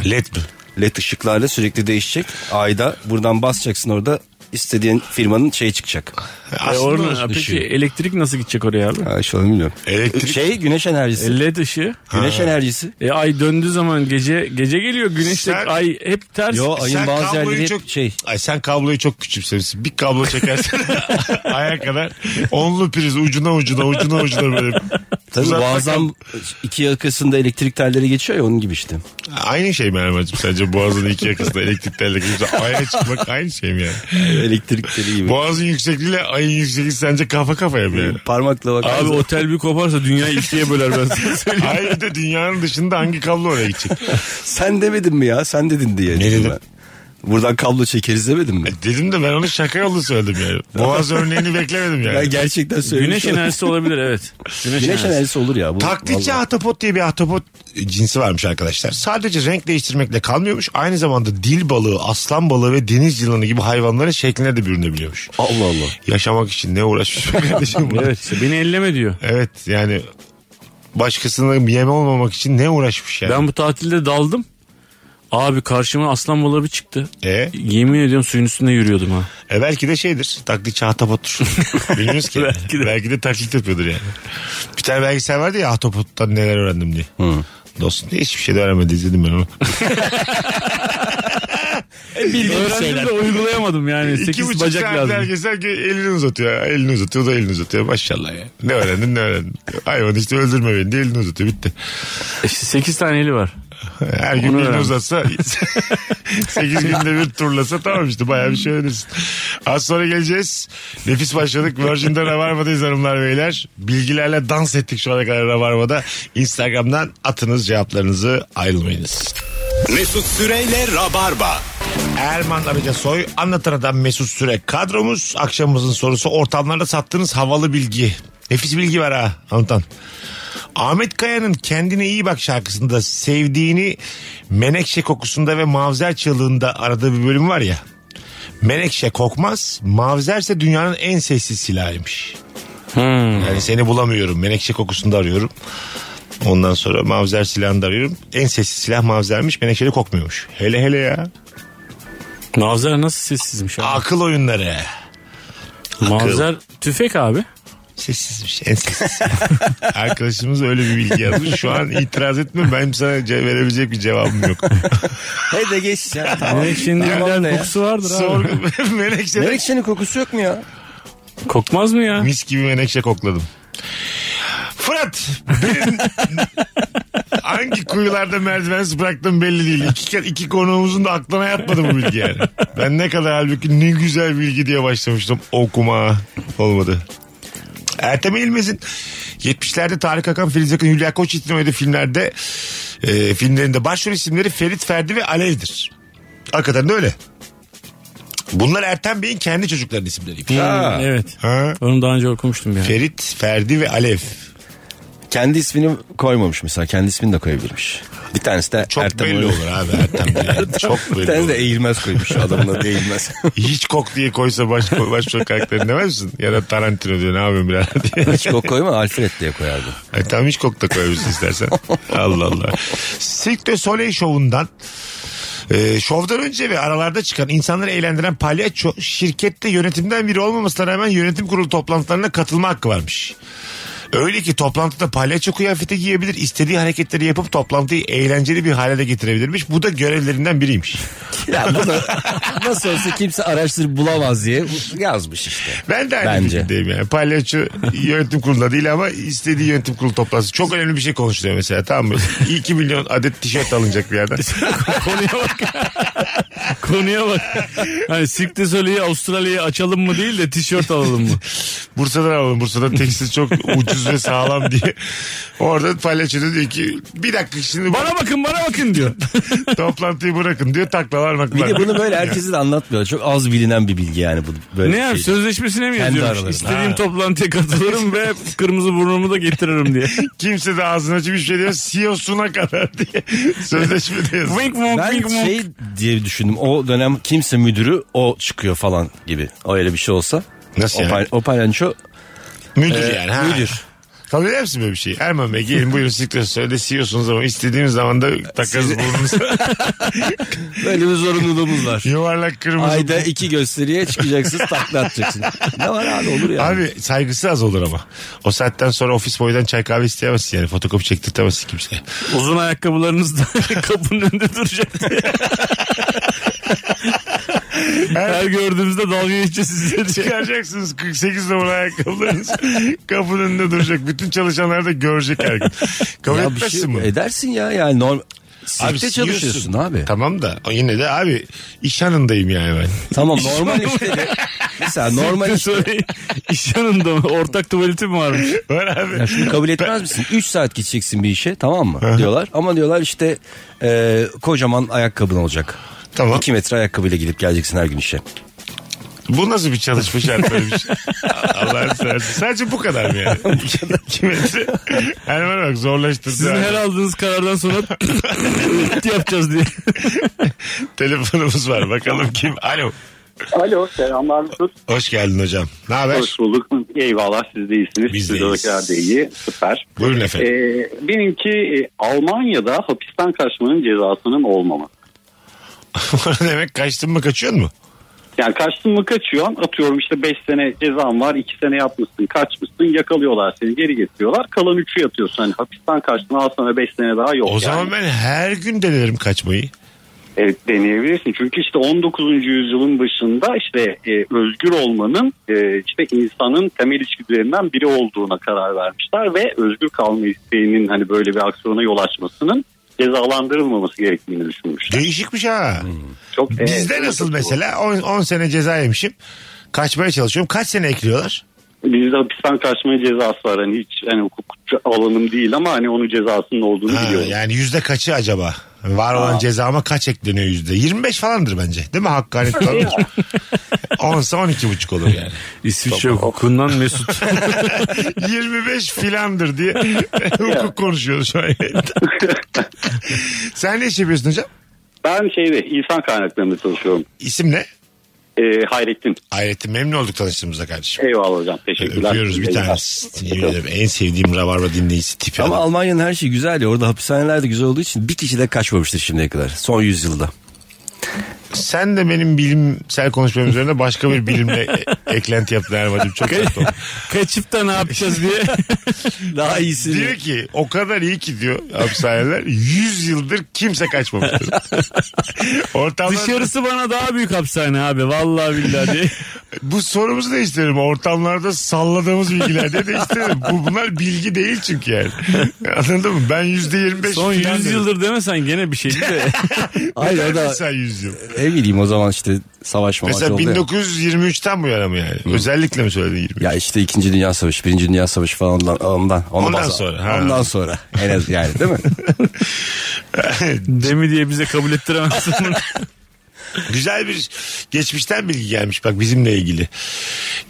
[SPEAKER 3] Led mi?
[SPEAKER 4] led ışıklarla sürekli değişecek. Ayda buradan basacaksın orada istediğin firmanın şeyi çıkacak.
[SPEAKER 5] E
[SPEAKER 3] Aslında
[SPEAKER 5] orada,
[SPEAKER 3] ışığı.
[SPEAKER 5] peki elektrik nasıl gidecek oraya abi?
[SPEAKER 4] Ha, şu an bilmiyorum.
[SPEAKER 3] Elektrik.
[SPEAKER 4] Şey güneş enerjisi.
[SPEAKER 5] E, LED ışığı.
[SPEAKER 4] Güneş enerjisi.
[SPEAKER 5] E ay döndüğü zaman gece gece geliyor güneşle
[SPEAKER 3] Sen-
[SPEAKER 5] ay hep ters.
[SPEAKER 4] Yo
[SPEAKER 3] Sen
[SPEAKER 4] ayın bazı
[SPEAKER 3] kabloyu
[SPEAKER 4] yerleri
[SPEAKER 3] çok-
[SPEAKER 4] hep şey.
[SPEAKER 3] Ay sen kabloyu çok küçümsemişsin. Bir kablo çekersen aya kadar onlu priz ucuna ucuna ucuna ucuna böyle.
[SPEAKER 4] Tabii
[SPEAKER 3] Uzatma
[SPEAKER 4] boğazdan iki yakasında elektrik telleri geçiyor ya onun gibi işte.
[SPEAKER 3] Aynı şey mi Erman'cığım sence boğazın iki yakasında elektrik telleri gibi aya çıkmak aynı şey mi yani?
[SPEAKER 4] elektrik teli gibi.
[SPEAKER 3] Boğazın yüksekliğiyle ayın yüksekliği sence kafa kafaya mı yani?
[SPEAKER 4] Parmakla bak.
[SPEAKER 5] Abi otel bir koparsa dünyayı ikiye böler ben sana söyleyeyim.
[SPEAKER 3] Ay bir de dünyanın dışında hangi kablo oraya gidecek?
[SPEAKER 4] Sen demedin mi ya? Sen dedin diye.
[SPEAKER 3] Ne dedim?
[SPEAKER 4] Ben. Buradan kablo çekeriz demedin mi?
[SPEAKER 3] Dedim de ben onu şaka yolu söyledim yani. Boğaz örneğini beklemedim yani.
[SPEAKER 4] Ben gerçekten söylemiş
[SPEAKER 5] Güneş enerjisi olabilir evet. Güneş,
[SPEAKER 4] Güneş enerjisi olur ya. Bu,
[SPEAKER 3] Taklitçi
[SPEAKER 4] vallahi.
[SPEAKER 3] ahtapot diye bir ahtapot cinsi varmış arkadaşlar. Sadece renk değiştirmekle kalmıyormuş. Aynı zamanda dil balığı, aslan balığı ve deniz yılanı gibi hayvanların şekline de bürünebiliyormuş.
[SPEAKER 4] Allah Allah.
[SPEAKER 3] Yaşamak için ne uğraşmış be kardeşim bu?
[SPEAKER 5] Evet işte beni elleme diyor.
[SPEAKER 3] Evet yani başkasının yeme olmamak için ne uğraşmış yani.
[SPEAKER 5] Ben bu tatilde daldım. Abi karşıma aslan balığı bir çıktı.
[SPEAKER 3] E,
[SPEAKER 5] Yemin ediyorum suyun üstünde yürüyordum ha.
[SPEAKER 3] e belki de şeydir taklitçi ahtapottur. Bilmiyoruz ki. belki,
[SPEAKER 5] Belki
[SPEAKER 3] de.
[SPEAKER 5] de.
[SPEAKER 3] taklit yapıyordur yani. Bir tane belgesel vardı ya ahtapottan neler öğrendim diye. Dostum diye hiçbir şey de öğrenmedi izledim ben onu.
[SPEAKER 5] Öğrendim de uygulayamadım yani.
[SPEAKER 3] İki
[SPEAKER 5] 8
[SPEAKER 3] buçuk
[SPEAKER 5] bacak
[SPEAKER 3] saat
[SPEAKER 5] lazım.
[SPEAKER 3] herkes herkes elini uzatıyor. Elini uzatıyor o da elini uzatıyor. Maşallah ya. Ne öğrendin ne öğrendin. Hayvan işte öldürme beni diye elini uzatıyor. Bitti.
[SPEAKER 5] İşte 8 tane eli var.
[SPEAKER 3] Her gün
[SPEAKER 5] Onu
[SPEAKER 3] birini
[SPEAKER 5] öğrendim.
[SPEAKER 3] uzatsa 8 günde bir turlasa tamam işte bayağı bir şey öğrenirsin. Az sonra geleceğiz. Nefis başladık. Virgin'de Rabarba'dayız hanımlar beyler. Bilgilerle dans ettik şu ana kadar Rabarba'da. Instagram'dan atınız cevaplarınızı ayrılmayınız.
[SPEAKER 2] Mesut Süreyle Rabarba.
[SPEAKER 3] Erman Arıca Soy, Anlatan Adam Mesut Süre kadromuz. Akşamımızın sorusu ortamlarda sattığınız havalı bilgi. Nefis bilgi var ha Anlatan. Ahmet Kaya'nın Kendine İyi Bak şarkısında sevdiğini menekşe kokusunda ve mavzer çığlığında aradığı bir bölüm var ya. Menekşe kokmaz, mavzerse dünyanın en sessiz silahıymış.
[SPEAKER 5] Hmm.
[SPEAKER 3] Yani seni bulamıyorum, menekşe kokusunda arıyorum. Ondan sonra mavzer silahını da arıyorum. En sessiz silah mavzermiş, menekşe de kokmuyormuş. Hele hele ya.
[SPEAKER 5] Mavzer nasıl sessizmiş abi.
[SPEAKER 3] Akıl oyunları.
[SPEAKER 5] Mavzer tüfek abi.
[SPEAKER 3] Sessizmiş. En sessiz. Arkadaşımız öyle bir bilgi yazmış. Şu an itiraz etme. Benim sana ce- verebilecek bir cevabım yok.
[SPEAKER 4] Hey de geç ya. Tamam.
[SPEAKER 5] Menekşenin
[SPEAKER 4] Tamam da
[SPEAKER 5] illa
[SPEAKER 4] ya.
[SPEAKER 5] kokusu vardır abi.
[SPEAKER 3] Sorgu menekşe. de-
[SPEAKER 4] Menekşenin kokusu yok mu ya?
[SPEAKER 5] Kokmaz mı ya?
[SPEAKER 3] Mis gibi menekşe kokladım. Fırat. benim- hangi kuyularda merdivensiz bıraktım belli değil. İki, ke- iki konuğumuzun da aklına yatmadı bu bilgi yani. Ben ne kadar halbuki ne güzel bilgi diye başlamıştım. Okuma olmadı. Ertem İlmez'in 70'lerde Tarık Akan, Filiz Akın, Hülya Koçyiğit'in oynadığı filmlerde e, filmlerinde başrol isimleri Ferit Ferdi ve Alev'dir. Hakikaten de öyle. Bunlar Ertem Bey'in kendi çocuklarının isimleriymiş.
[SPEAKER 5] Hmm,
[SPEAKER 4] Ha.
[SPEAKER 5] evet.
[SPEAKER 3] Ha?
[SPEAKER 5] Onu daha önce okumuştum ya.
[SPEAKER 3] Ferit, Ferdi ve Alev.
[SPEAKER 4] Kendi ismini koymamış mesela. Kendi ismini de koyabilirmiş. Bir tanesi de
[SPEAKER 3] Çok
[SPEAKER 4] Ertem
[SPEAKER 3] belli
[SPEAKER 4] Oral.
[SPEAKER 3] olur abi Ertem Bey. Yani Çok
[SPEAKER 4] Bir
[SPEAKER 3] belli
[SPEAKER 4] tanesi de
[SPEAKER 3] olur.
[SPEAKER 4] eğilmez koymuş. Adamın adı eğilmez.
[SPEAKER 3] Hiç kok diye koysa baş, başrol karakterini demez misin? Ya da Tarantino diyor ne yapıyorsun birader diye.
[SPEAKER 4] Hiç kok koyma Alfred diye koyardı.
[SPEAKER 3] Ay, E, tamam hiç kok da koyabilirsin istersen. Allah Allah. Cirque du Soleil şovundan e, şovdan önce ve aralarda çıkan insanları eğlendiren palyaço şirkette yönetimden biri olmamasına rağmen yönetim kurulu toplantılarına katılma hakkı varmış. Öyle ki toplantıda palyaço kıyafeti giyebilir, istediği hareketleri yapıp toplantıyı eğlenceli bir hale de getirebilirmiş. Bu da görevlerinden biriymiş.
[SPEAKER 4] Ya bunu nasıl olsa kimse araştırıp bulamaz diye yazmış işte.
[SPEAKER 3] Ben de aynı
[SPEAKER 4] Bence.
[SPEAKER 3] fikirdeyim yani. Palyaço yönetim kurulunda değil ama istediği yönetim kurulu toplantısı. Çok önemli bir şey konuşuluyor mesela tamam mı? 2 milyon adet tişört alınacak bir yerden.
[SPEAKER 5] Konuya bak. Konuya bak. Hani Sirk de Soleil'i Avustralya'ya açalım mı değil de tişört alalım mı?
[SPEAKER 3] Bursa'dan alalım. Bursa'dan tekstil çok ucuz ucuz ve sağlam diye. Orada palyaçoda diyor ki bir dakika şimdi
[SPEAKER 5] Bana bakın bana bakın diyor.
[SPEAKER 3] toplantıyı bırakın diyor taklalar
[SPEAKER 4] Bir
[SPEAKER 3] maklalar.
[SPEAKER 4] de bunu böyle herkese de anlatmıyor. Çok az bilinen bir bilgi yani bu. Böyle
[SPEAKER 5] ne yap
[SPEAKER 4] şey.
[SPEAKER 5] sözleşmesine mi
[SPEAKER 4] Kendi
[SPEAKER 5] yazıyormuş?
[SPEAKER 4] aralarında.
[SPEAKER 5] İstediğim
[SPEAKER 4] Ha.
[SPEAKER 5] toplantıya katılırım ve kırmızı burnumu da getiririm diye.
[SPEAKER 3] Kimse de ağzını açıp hiçbir şey diyor. CEO'suna kadar diye sözleşmede yazıyor.
[SPEAKER 5] wink wonk
[SPEAKER 4] Ben
[SPEAKER 5] wink wonk.
[SPEAKER 4] şey diye düşündüm. O dönem kimse müdürü o çıkıyor falan gibi. O öyle bir şey olsa.
[SPEAKER 3] Nasıl
[SPEAKER 4] o,
[SPEAKER 3] yani?
[SPEAKER 4] pal- o palyaço
[SPEAKER 3] Müdür
[SPEAKER 4] e,
[SPEAKER 3] yani. Ha.
[SPEAKER 4] müdür.
[SPEAKER 3] Kabul eder misin böyle bir şey? Erman Bey gelin buyurun siktir söyle CEO'sunuz ama istediğimiz zaman da takarız burnunuza.
[SPEAKER 4] Böyle bir zorunluluğumuz var.
[SPEAKER 3] Yuvarlak kırmızı.
[SPEAKER 4] Ayda iki gösteriye çıkacaksın takla atacaksın. Ne var abi olur yani.
[SPEAKER 3] Abi saygısı az olur ama. O saatten sonra ofis boydan çay kahve isteyemezsin yani. Fotokopi çektirtemezsin kimseye.
[SPEAKER 5] Uzun ayakkabılarınız da kapının önünde duracak. diye. Her gördüğümüzde dalga geçeceğiz size diye.
[SPEAKER 3] Çıkaracaksınız 48 numara ayakkabılarınız. Kapının önünde duracak. Bütün çalışanlar da görecek her gün. Kabul
[SPEAKER 4] ya bir
[SPEAKER 3] etmezsin
[SPEAKER 4] şey
[SPEAKER 3] bunu.
[SPEAKER 4] edersin ya yani normal. Sirkte
[SPEAKER 3] CEO'sun.
[SPEAKER 4] çalışıyorsun abi.
[SPEAKER 3] Tamam da yine de abi iş yanındayım yani ben.
[SPEAKER 4] Tamam normal işte. de- Mesela normal işte.
[SPEAKER 5] Söyle, iş yanında mı? Ortak tuvaleti mi varmış?
[SPEAKER 3] Var abi.
[SPEAKER 4] Ya şunu kabul etmez misin? 3 saat gideceksin bir işe tamam mı diyorlar. Ama diyorlar işte e, kocaman ayakkabın olacak.
[SPEAKER 3] Tamam.
[SPEAKER 4] 2 metre ayakkabıyla gidip geleceksin her gün işe.
[SPEAKER 3] Bu nasıl bir çalışma şartları bir şey? Allah'ını seversen. Sadece bu kadar mı yani? İki metre. Yani bana bak zorlaştırdı.
[SPEAKER 5] Sizin
[SPEAKER 3] abi.
[SPEAKER 5] her aldığınız karardan sonra yapacağız diye.
[SPEAKER 3] Telefonumuz var bakalım kim? Alo.
[SPEAKER 7] Alo selamlar Mesut.
[SPEAKER 3] Hoş geldin hocam. Ne haber?
[SPEAKER 7] Hoş bulduk. Eyvallah siz de
[SPEAKER 3] Biz
[SPEAKER 7] iyisiniz. Biz
[SPEAKER 3] de
[SPEAKER 7] de
[SPEAKER 3] iyiyiz.
[SPEAKER 7] hoşlar da iyi. Süper.
[SPEAKER 3] Buyurun efendim.
[SPEAKER 7] Ee, benimki e, Almanya'da hapisten kaçmanın cezasının olmaması. Ee,
[SPEAKER 3] Bu ne demek kaçtın mı kaçıyorsun mu?
[SPEAKER 7] Yani kaçtın mı kaçıyorsun atıyorum işte 5 sene cezan var 2 sene yapmışsın kaçmışsın yakalıyorlar seni geri getiriyorlar kalan 3'ü yatıyorsun. Hani hapisten kaçtın al sana 5 sene daha yok.
[SPEAKER 3] O
[SPEAKER 7] yani.
[SPEAKER 3] zaman ben her gün denerim kaçmayı.
[SPEAKER 7] Evet deneyebilirsin. Çünkü işte 19. yüzyılın başında işte e, özgür olmanın e, işte insanın temel içgüdülerinden biri olduğuna karar vermişler ve özgür kalma isteğinin hani böyle bir aksiyona yol açmasının cezalandırılmaması gerektiğini düşünmüşler.
[SPEAKER 3] Değişikmiş ha.
[SPEAKER 7] Çok Hmm. e, evet,
[SPEAKER 3] Bizde
[SPEAKER 7] çok
[SPEAKER 3] nasıl
[SPEAKER 7] doğru.
[SPEAKER 3] mesela 10 sene ceza yemişim. Kaçmaya çalışıyorum. Kaç sene ekliyorlar?
[SPEAKER 7] Bizde hapisten kaçma cezası var. Hani hiç hani hukukçu alanım değil ama hani onun cezasının olduğunu
[SPEAKER 3] Ha,
[SPEAKER 7] biliyorum.
[SPEAKER 3] yani yüzde kaçı acaba? Var olan cezama kaç ekleniyor yüzde? 25 falandır bence. Değil mi? Hakkaniyet falandır. 10 ise 12 buçuk olur yani.
[SPEAKER 5] İsviçre hukukundan Mesut.
[SPEAKER 3] 25 filandır diye hukuk konuşuyoruz şu an. yayında. Sen ne iş yapıyorsun hocam?
[SPEAKER 7] Ben şeyde insan kaynaklarında çalışıyorum.
[SPEAKER 3] İsim ne?
[SPEAKER 7] E, Hayrettin.
[SPEAKER 3] Hayrettin memnun olduk tanıştığımızda kardeşim.
[SPEAKER 7] Eyvallah hocam. Teşekkürler.
[SPEAKER 3] Öpüyoruz E, bir
[SPEAKER 7] Eyvallah.
[SPEAKER 3] tanesi. Yemin ederim en sevdiğim rabarba dinleyicisi tipi.
[SPEAKER 4] Ama
[SPEAKER 3] adam.
[SPEAKER 4] Almanya'nın her şeyi güzel ya. Orada hapishaneler de güzel olduğu için bir kişi de kaçmamıştır şimdiye kadar. Son yüzyılda.
[SPEAKER 3] Sen de benim bilimsel konuşmam üzerine başka bir bilimle e- eklenti yaptın Erman'cığım. Çok tatlı oldu.
[SPEAKER 5] Kaçıp da ne yapacağız diye.
[SPEAKER 4] Daha iyisi.
[SPEAKER 3] Diyor ki o kadar iyi ki diyor hapishaneler 100 yıldır kimse kaçmamıştır. Ortamlar...
[SPEAKER 5] Dışarısı bana daha büyük hapishane abi. Vallahi billahi diye.
[SPEAKER 3] Bu sorumuzu değiştirelim. Ortamlarda salladığımız bilgiler diye değiştirelim. Bu, bunlar bilgi değil çünkü yani. Anladın mı? Ben yüzde yirmi beş
[SPEAKER 5] Son
[SPEAKER 3] filan
[SPEAKER 5] 100
[SPEAKER 3] dedim.
[SPEAKER 5] yıldır demesen gene bir şey değil de.
[SPEAKER 4] Hayır
[SPEAKER 3] Neden
[SPEAKER 4] o da
[SPEAKER 3] Mesela 100 yıl.
[SPEAKER 4] ne bileyim o zaman işte savaş mavaş
[SPEAKER 3] Mesela
[SPEAKER 4] oldu ya.
[SPEAKER 3] 1923'ten bu yana mı yani? Özellikle mi söyledin 23?
[SPEAKER 4] Ya işte 2. Dünya Savaşı, 1. Dünya Savaşı falan ondan. Ondan, Ona
[SPEAKER 3] Ondan
[SPEAKER 4] baz-
[SPEAKER 3] sonra, ha.
[SPEAKER 4] Ondan sonra. En az yani değil mi?
[SPEAKER 5] Demi diye bize kabul ettiremezsin bunu.
[SPEAKER 3] Güzel bir geçmişten bilgi gelmiş bak bizimle ilgili.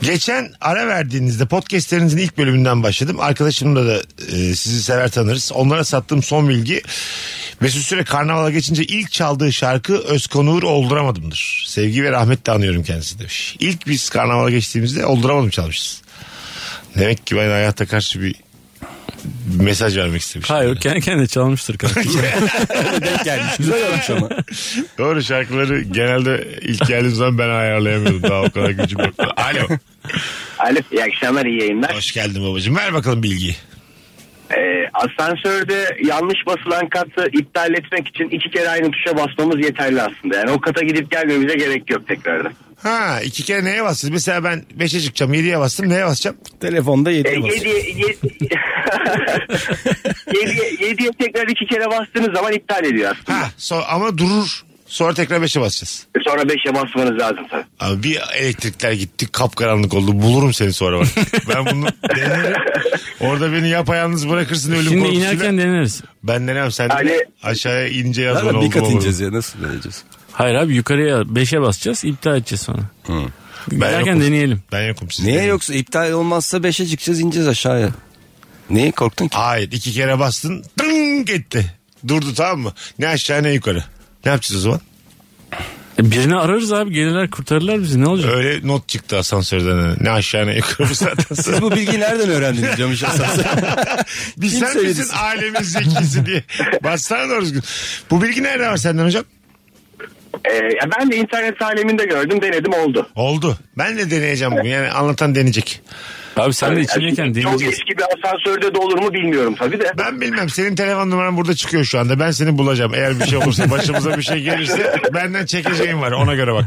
[SPEAKER 3] Geçen ara verdiğinizde podcastlerinizin ilk bölümünden başladım. Arkadaşımla da e, sizi sever tanırız. Onlara sattığım son bilgi Mesut Süre karnavala geçince ilk çaldığı şarkı Özkonur Olduramadım'dır. Sevgi ve rahmetle anıyorum kendisi demiş. İlk biz karnavala geçtiğimizde Olduramadım çalmışız. Demek ki ben hayata karşı bir mesaj vermek istemişim.
[SPEAKER 5] Hayır o kendi kendine çalmıştır kanka.
[SPEAKER 4] Denk gelmiş. Güzel olmuş ama.
[SPEAKER 3] Doğru şarkıları genelde ilk geldiğim zaman ben ayarlayamıyordum. Daha o kadar gücüm yoktu. Alo.
[SPEAKER 8] Alo iyi akşamlar iyi yayınlar.
[SPEAKER 3] Hoş geldin babacığım. Ver bakalım bilgiyi.
[SPEAKER 8] Ee, asansörde yanlış basılan katı iptal etmek için iki kere aynı tuşa basmamız yeterli aslında. Yani o kata gidip gelmemize gerek yok tekrardan.
[SPEAKER 3] Ha iki kere neye bastın? Mesela ben 5'e çıkacağım 7'ye bastım neye basacağım?
[SPEAKER 4] Telefonda
[SPEAKER 8] Ee,
[SPEAKER 4] yediye basıyor.
[SPEAKER 8] yediye, yedi- yediye, yediye tekrar iki kere bastığınız zaman iptal ediyor aslında.
[SPEAKER 3] Ha so- ama durur Sonra tekrar 5'e basacağız.
[SPEAKER 8] E Sonra 5'e basmanız lazım tabii.
[SPEAKER 3] Abi bir elektrikler gitti kapkaranlık oldu. Bulurum seni sonra bak. ben bunu denerim. Orada beni yapayalnız bırakırsın ölüm
[SPEAKER 5] Şimdi
[SPEAKER 3] korkusuyla.
[SPEAKER 5] inerken deneriz.
[SPEAKER 3] Ben denemem sen
[SPEAKER 8] Yani-
[SPEAKER 3] de aşağıya ince yaz bana
[SPEAKER 4] Zaten bir
[SPEAKER 3] oldu
[SPEAKER 4] kat
[SPEAKER 3] mu olur.
[SPEAKER 4] ineceğiz ya nasıl deneyeceğiz?
[SPEAKER 5] Hayır abi yukarıya 5'e basacağız iptal edeceğiz sonra.
[SPEAKER 3] Ben
[SPEAKER 5] İnerken
[SPEAKER 3] yokum.
[SPEAKER 5] deneyelim.
[SPEAKER 3] Ben yokum siz
[SPEAKER 4] Niye
[SPEAKER 3] deneyin.
[SPEAKER 4] yoksa iptal olmazsa 5'e çıkacağız ineceğiz aşağıya. Niye korktun ki?
[SPEAKER 3] Hayır iki kere bastın tınk etti. Durdu tamam mı? Ne aşağı ne yukarı. Ne yapacağız o zaman?
[SPEAKER 5] E, birini ararız abi gelirler kurtarırlar bizi ne olacak?
[SPEAKER 3] Öyle not çıktı asansörden. Ne aşağı ne yukarı bu zaten.
[SPEAKER 4] Siz bu bilgiyi nereden öğrendiniz Camış Asas?
[SPEAKER 3] Bir
[SPEAKER 4] Kim
[SPEAKER 3] sen
[SPEAKER 4] söyledi
[SPEAKER 3] misin alemin zekisi diye. Bassana doğru düzgün. Bu bilgi nerede var senden hocam?
[SPEAKER 8] E, ya ben de internet aleminde gördüm denedim oldu.
[SPEAKER 3] Oldu. Ben de deneyeceğim bugün. Yani anlatan deneyecek.
[SPEAKER 5] Abi sen de
[SPEAKER 8] Yani
[SPEAKER 5] içindeyken
[SPEAKER 8] çok
[SPEAKER 5] deneyeceğiz.
[SPEAKER 8] eski bir asansörde de olur mu bilmiyorum tabii de.
[SPEAKER 3] Ben bilmem. Senin telefon numaran burada çıkıyor şu anda. Ben seni bulacağım. Eğer bir şey olursa başımıza bir şey gelirse benden çekeceğim var. Ona göre bak.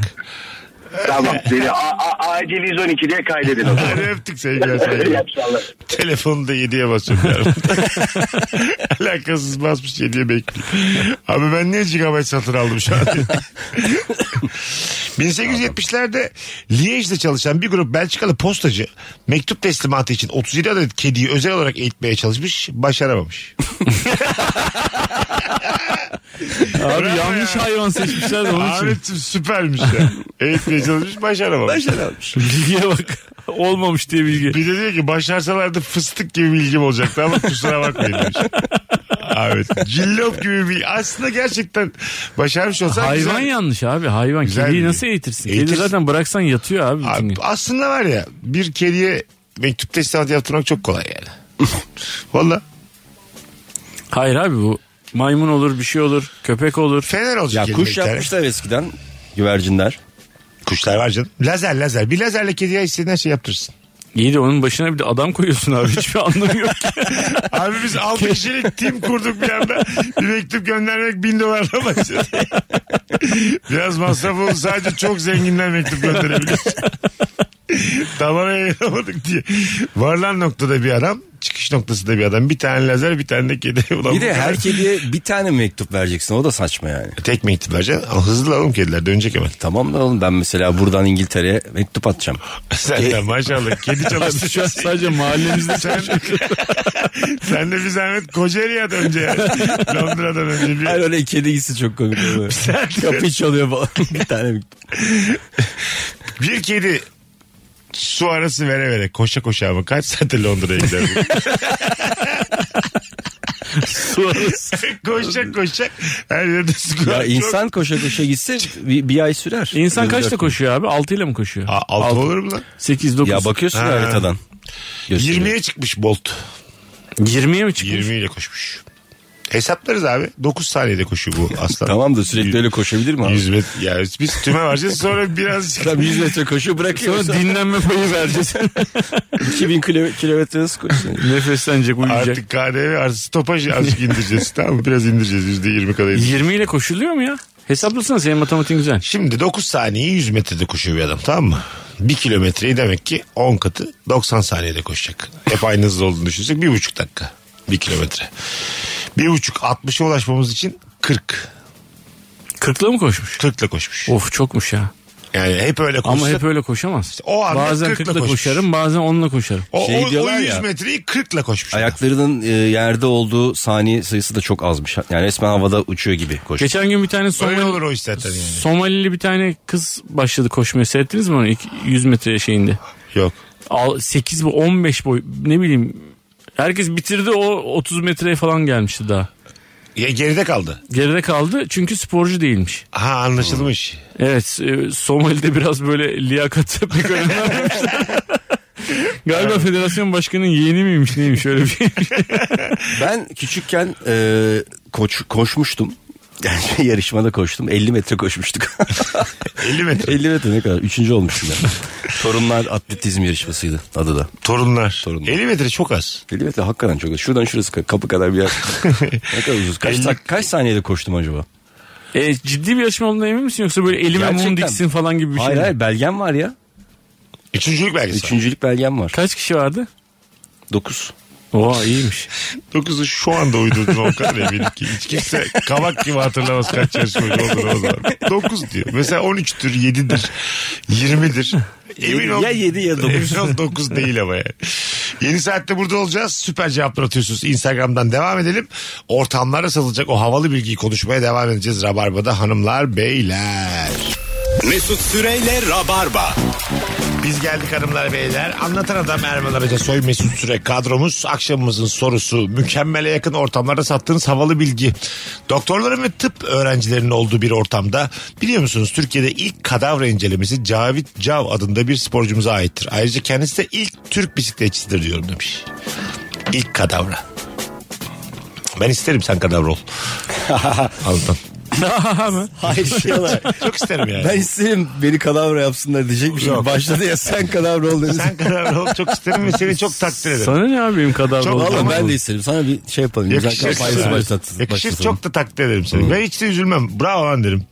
[SPEAKER 8] Tamam. Beni A- A- acil 112 diye kaydedin o zaman.
[SPEAKER 3] Hadi öptük sevgiler sevgiler.
[SPEAKER 8] Yapsallar.
[SPEAKER 3] Telefonu da 7'ye basıyorum yarın. Alakasız basmış 7'ye bekliyor. Abi ben niye gigabyte satın aldım şu an? 1870'lerde Liège'de çalışan bir grup Belçikalı postacı mektup teslimatı için 37 adet kediyi özel olarak eğitmeye çalışmış, başaramamış.
[SPEAKER 5] Abi
[SPEAKER 3] Bravo
[SPEAKER 5] yanlış
[SPEAKER 3] ya.
[SPEAKER 5] hayvan seçmişler de onun için.
[SPEAKER 3] Ahmet'im süpermiş ya. Eğitmeye çalışmış, başaramamış.
[SPEAKER 5] Bilgiye bak. Olmamış diye bilgi.
[SPEAKER 3] Bir de diyor ki başarsalardı fıstık gibi bilgim olacaktı ama kusura bakmayın demiş. evet. Cillop gibi bir aslında gerçekten başarmış olsa
[SPEAKER 5] Hayvan
[SPEAKER 3] güzel.
[SPEAKER 5] yanlış abi hayvan.
[SPEAKER 3] Güzel
[SPEAKER 5] Kediyi
[SPEAKER 3] bilgi.
[SPEAKER 5] nasıl eğitirsin? Kedi
[SPEAKER 3] Eğitirsin.
[SPEAKER 5] zaten bıraksan yatıyor abi. bütün
[SPEAKER 3] Abi,
[SPEAKER 5] gün.
[SPEAKER 3] aslında var ya bir kediye mektup teslimatı yaptırmak çok kolay yani. Valla
[SPEAKER 5] Hayır abi bu maymun olur bir şey olur köpek olur.
[SPEAKER 3] fener olacak.
[SPEAKER 4] ya
[SPEAKER 3] kedi
[SPEAKER 4] kuş
[SPEAKER 3] Şey, bir tane.
[SPEAKER 4] yapmışlar eskiden güvercinler.
[SPEAKER 3] Kuşlar var canım. Lazer lazer. Bir lazerle kediye istediğin her şeyi yaptırırsın.
[SPEAKER 5] İyi de onun başına bir de adam koyuyorsun abi hiçbir anlamı yok ki.
[SPEAKER 3] Abi biz 6 kişilik tim kurduk bir anda. Bir mektup göndermek 1000 dolarla başladı. Biraz masraf oldu. Sadece çok zenginler mektup gönderebilir. Tavana yayınlamadık diye. Varlan noktada bir adam. Çıkış noktasında bir adam. Bir tane lazer bir tane de kedi. Ulan
[SPEAKER 4] Bir
[SPEAKER 3] bu
[SPEAKER 4] de
[SPEAKER 3] kadar-
[SPEAKER 4] her kediye bir tane mektup vereceksin o da saçma yani. E,
[SPEAKER 3] Tek mektup vereceksin. Ama Hızlı oğlum kediler dönecek hemen.
[SPEAKER 4] Tamam da oğlum ben mesela buradan İngiltere'ye mektup atacağım.
[SPEAKER 3] Sen de maşallah kedi çalıştı.
[SPEAKER 5] Şu an sadece mahallemizde
[SPEAKER 3] sen, sen de bir zahmet Kocaeli'ye dönce yani. Londra'dan önce bir.
[SPEAKER 4] Hayır öyle kedi gitsi çok komik oluyor. Kapıyı çalıyor falan bir tane mektup.
[SPEAKER 3] Bir kedi su arası vere vere koşa koşa ama kaç saatte Londra'ya gider. bu?
[SPEAKER 5] tuvarız.
[SPEAKER 3] koşacak koşacak. Her yerde su
[SPEAKER 4] Ya
[SPEAKER 3] var.
[SPEAKER 4] insan koşa koşa gitse bir, bir ay sürer.
[SPEAKER 5] İnsan
[SPEAKER 4] Gözler-
[SPEAKER 5] kaçta koşuyor abi? 6 ile mi koşuyor?
[SPEAKER 3] Çok... A- altı olur mu lan?
[SPEAKER 5] 8, 9.
[SPEAKER 4] Ya bakıyorsun
[SPEAKER 3] Ha.
[SPEAKER 4] haritadan. Gösteriyor.
[SPEAKER 3] 20'ye çıkmış Bolt.
[SPEAKER 5] 20'ye mi çıkıyor?
[SPEAKER 3] 20 ile koşmuş. Hesaplarız abi. 9 saniyede koşuyor bu aslan.
[SPEAKER 4] Tamam da sürekli öyle koşabilir mi abi?
[SPEAKER 3] 100 metre. Ya biz tüme varacağız sonra birazcık.
[SPEAKER 4] Adam 100 metre koşuyor bırakıyor.
[SPEAKER 5] Sonra
[SPEAKER 4] Sonra
[SPEAKER 5] dinlenme payı vereceğiz.
[SPEAKER 4] 2000 kilo- kilometre nasıl koşuyorsun?
[SPEAKER 5] Nefeslenecek uyuyacak.
[SPEAKER 3] Artık KDV artı stopaj azıcık indireceğiz. tamam mı? Biraz indireceğiz. %20 kadar indireceğiz.
[SPEAKER 5] 20 ile koşuluyor mu ya? Hesaplasana senin matematiğin güzel.
[SPEAKER 3] Şimdi 9 saniye 100 metrede koşuyor bir adam tamam mı? 1 kilometreyi demek ki 10 katı 90 saniyede koşacak. Hep aynı hızda olduğunu düşünsek 1,5 dakika 1 kilometre. 1,5 60'a ulaşmamız için 40.
[SPEAKER 5] 40'la mı koşmuş?
[SPEAKER 3] 40 ile koşmuş.
[SPEAKER 5] Of çokmuş ya.
[SPEAKER 3] Yani hep öyle koşsa.
[SPEAKER 5] Ama hep öyle koşamaz.
[SPEAKER 3] o anda
[SPEAKER 5] bazen
[SPEAKER 3] 40'la
[SPEAKER 5] 40'la
[SPEAKER 3] koşmuş.
[SPEAKER 5] koşarım bazen 10'la koşarım.
[SPEAKER 3] O,
[SPEAKER 4] Şey
[SPEAKER 3] o- o,
[SPEAKER 4] diyorlar
[SPEAKER 3] 100
[SPEAKER 4] ya.
[SPEAKER 3] metreyi 40 ile koşmuş.
[SPEAKER 4] Ayaklarının e, yerde olduğu saniye sayısı da çok azmış. Yani resmen havada uçuyor gibi koşuyor.
[SPEAKER 5] Geçen gün bir tane
[SPEAKER 3] Öyle olur
[SPEAKER 5] Somali,
[SPEAKER 3] o iş zaten yani.
[SPEAKER 5] Somalili bir tane kız başladı koşmaya. Seyrettiniz mi onu? İki- 100 metre şeyinde.
[SPEAKER 3] Yok.
[SPEAKER 5] 8 bu 15 boy ne bileyim. Herkes bitirdi o 30 metreye falan gelmişti daha.
[SPEAKER 3] Ya geride kaldı.
[SPEAKER 5] Geride kaldı çünkü sporcu değilmiş.
[SPEAKER 3] Ha anlaşılmış.
[SPEAKER 5] Evet e, Somali'de biraz böyle liyakat pek önem vermemişler. Galiba federasyon başkanının yeğeni miymiş neymiş öyle bir şey?
[SPEAKER 4] Ben küçükken e, koç, koşmuştum. Yani yarışmada koştum. 50 metre koşmuştuk.
[SPEAKER 3] 50 metre.
[SPEAKER 4] 50 metre ne kadar? Üçüncü olmuştum ben. Torunlar atletizm yarışmasıydı adı da.
[SPEAKER 3] Torunlar.
[SPEAKER 4] Torunlar.
[SPEAKER 3] 50 metre çok az.
[SPEAKER 4] 50 metre hakikaten çok. Şuradan şurası ka- kapı kadar bir yer. ne kadar uzun. Kaç,
[SPEAKER 3] Elli-
[SPEAKER 4] dak- kaç saniyede koştum acaba?
[SPEAKER 5] E, ciddi bir yarışma olduğuna emin misin yoksa böyle elime mum
[SPEAKER 4] Gerçekten.
[SPEAKER 5] diksin falan gibi bir şey
[SPEAKER 4] hayır
[SPEAKER 5] mi?
[SPEAKER 4] hayır belgem var ya.
[SPEAKER 3] Üçüncülük belgesi. var.
[SPEAKER 4] Üçüncülük belgem var.
[SPEAKER 5] Kaç kişi vardı?
[SPEAKER 4] 9.
[SPEAKER 5] Oha iyiymiş.
[SPEAKER 3] 9'u şu anda uydurdum o kadar eminim ki. Hiç kimse kavak gibi hatırlamaz kaç yaş boyunca olduğunu o zaman. 9 diyor. Mesela 13'tür, 7'dir, 20'dir. Emin ol.
[SPEAKER 4] Ya yedi ya dokuz.
[SPEAKER 3] Emin ol 9 değil ama yani. Yeni saatte burada olacağız. Süper cevaplar atıyorsunuz. Instagram'dan devam edelim. Ortamlara satılacak o havalı bilgiyi konuşmaya devam edeceğiz. Rabarba'da hanımlar, beyler.
[SPEAKER 2] Mesut Süreyle Rabarba.
[SPEAKER 3] Biz geldik hanımlar beyler. Anlatan adam Erman Araca Soy Mesut Süre kadromuz. Akşamımızın sorusu mükemmele yakın ortamlarda sattığınız havalı bilgi. Doktorların ve tıp öğrencilerinin olduğu bir ortamda biliyor musunuz Türkiye'de ilk kadavra incelemesi Cavit Cav adında bir sporcumuza aittir. Ayrıca kendisi de ilk Türk bisikletçisidir diyorum demiş. İlk kadavra. Ben isterim sen kadavra ol. Anlatan.
[SPEAKER 4] Hayır diyorlar.
[SPEAKER 3] Çok isterim yani.
[SPEAKER 4] Ben isterim beni kadavra yapsınlar diyecekmiş. Yok. Başladı ya sen kadavra ol dedi.
[SPEAKER 3] Sen kadavra ol çok isterim ve seni çok takdir ederim.
[SPEAKER 5] Sana ne abi benim kadar
[SPEAKER 3] Çok-
[SPEAKER 5] oldu.
[SPEAKER 4] Valla ben de isterim. Sana bir şey yapalım. Güzel
[SPEAKER 3] Yakışır.
[SPEAKER 4] kampanyası
[SPEAKER 3] Evet.
[SPEAKER 4] başlat.
[SPEAKER 3] Yakışır
[SPEAKER 4] başlatalım.
[SPEAKER 3] çok da takdir ederim seni. Ve hiç de üzülmem. Bravo lan derim.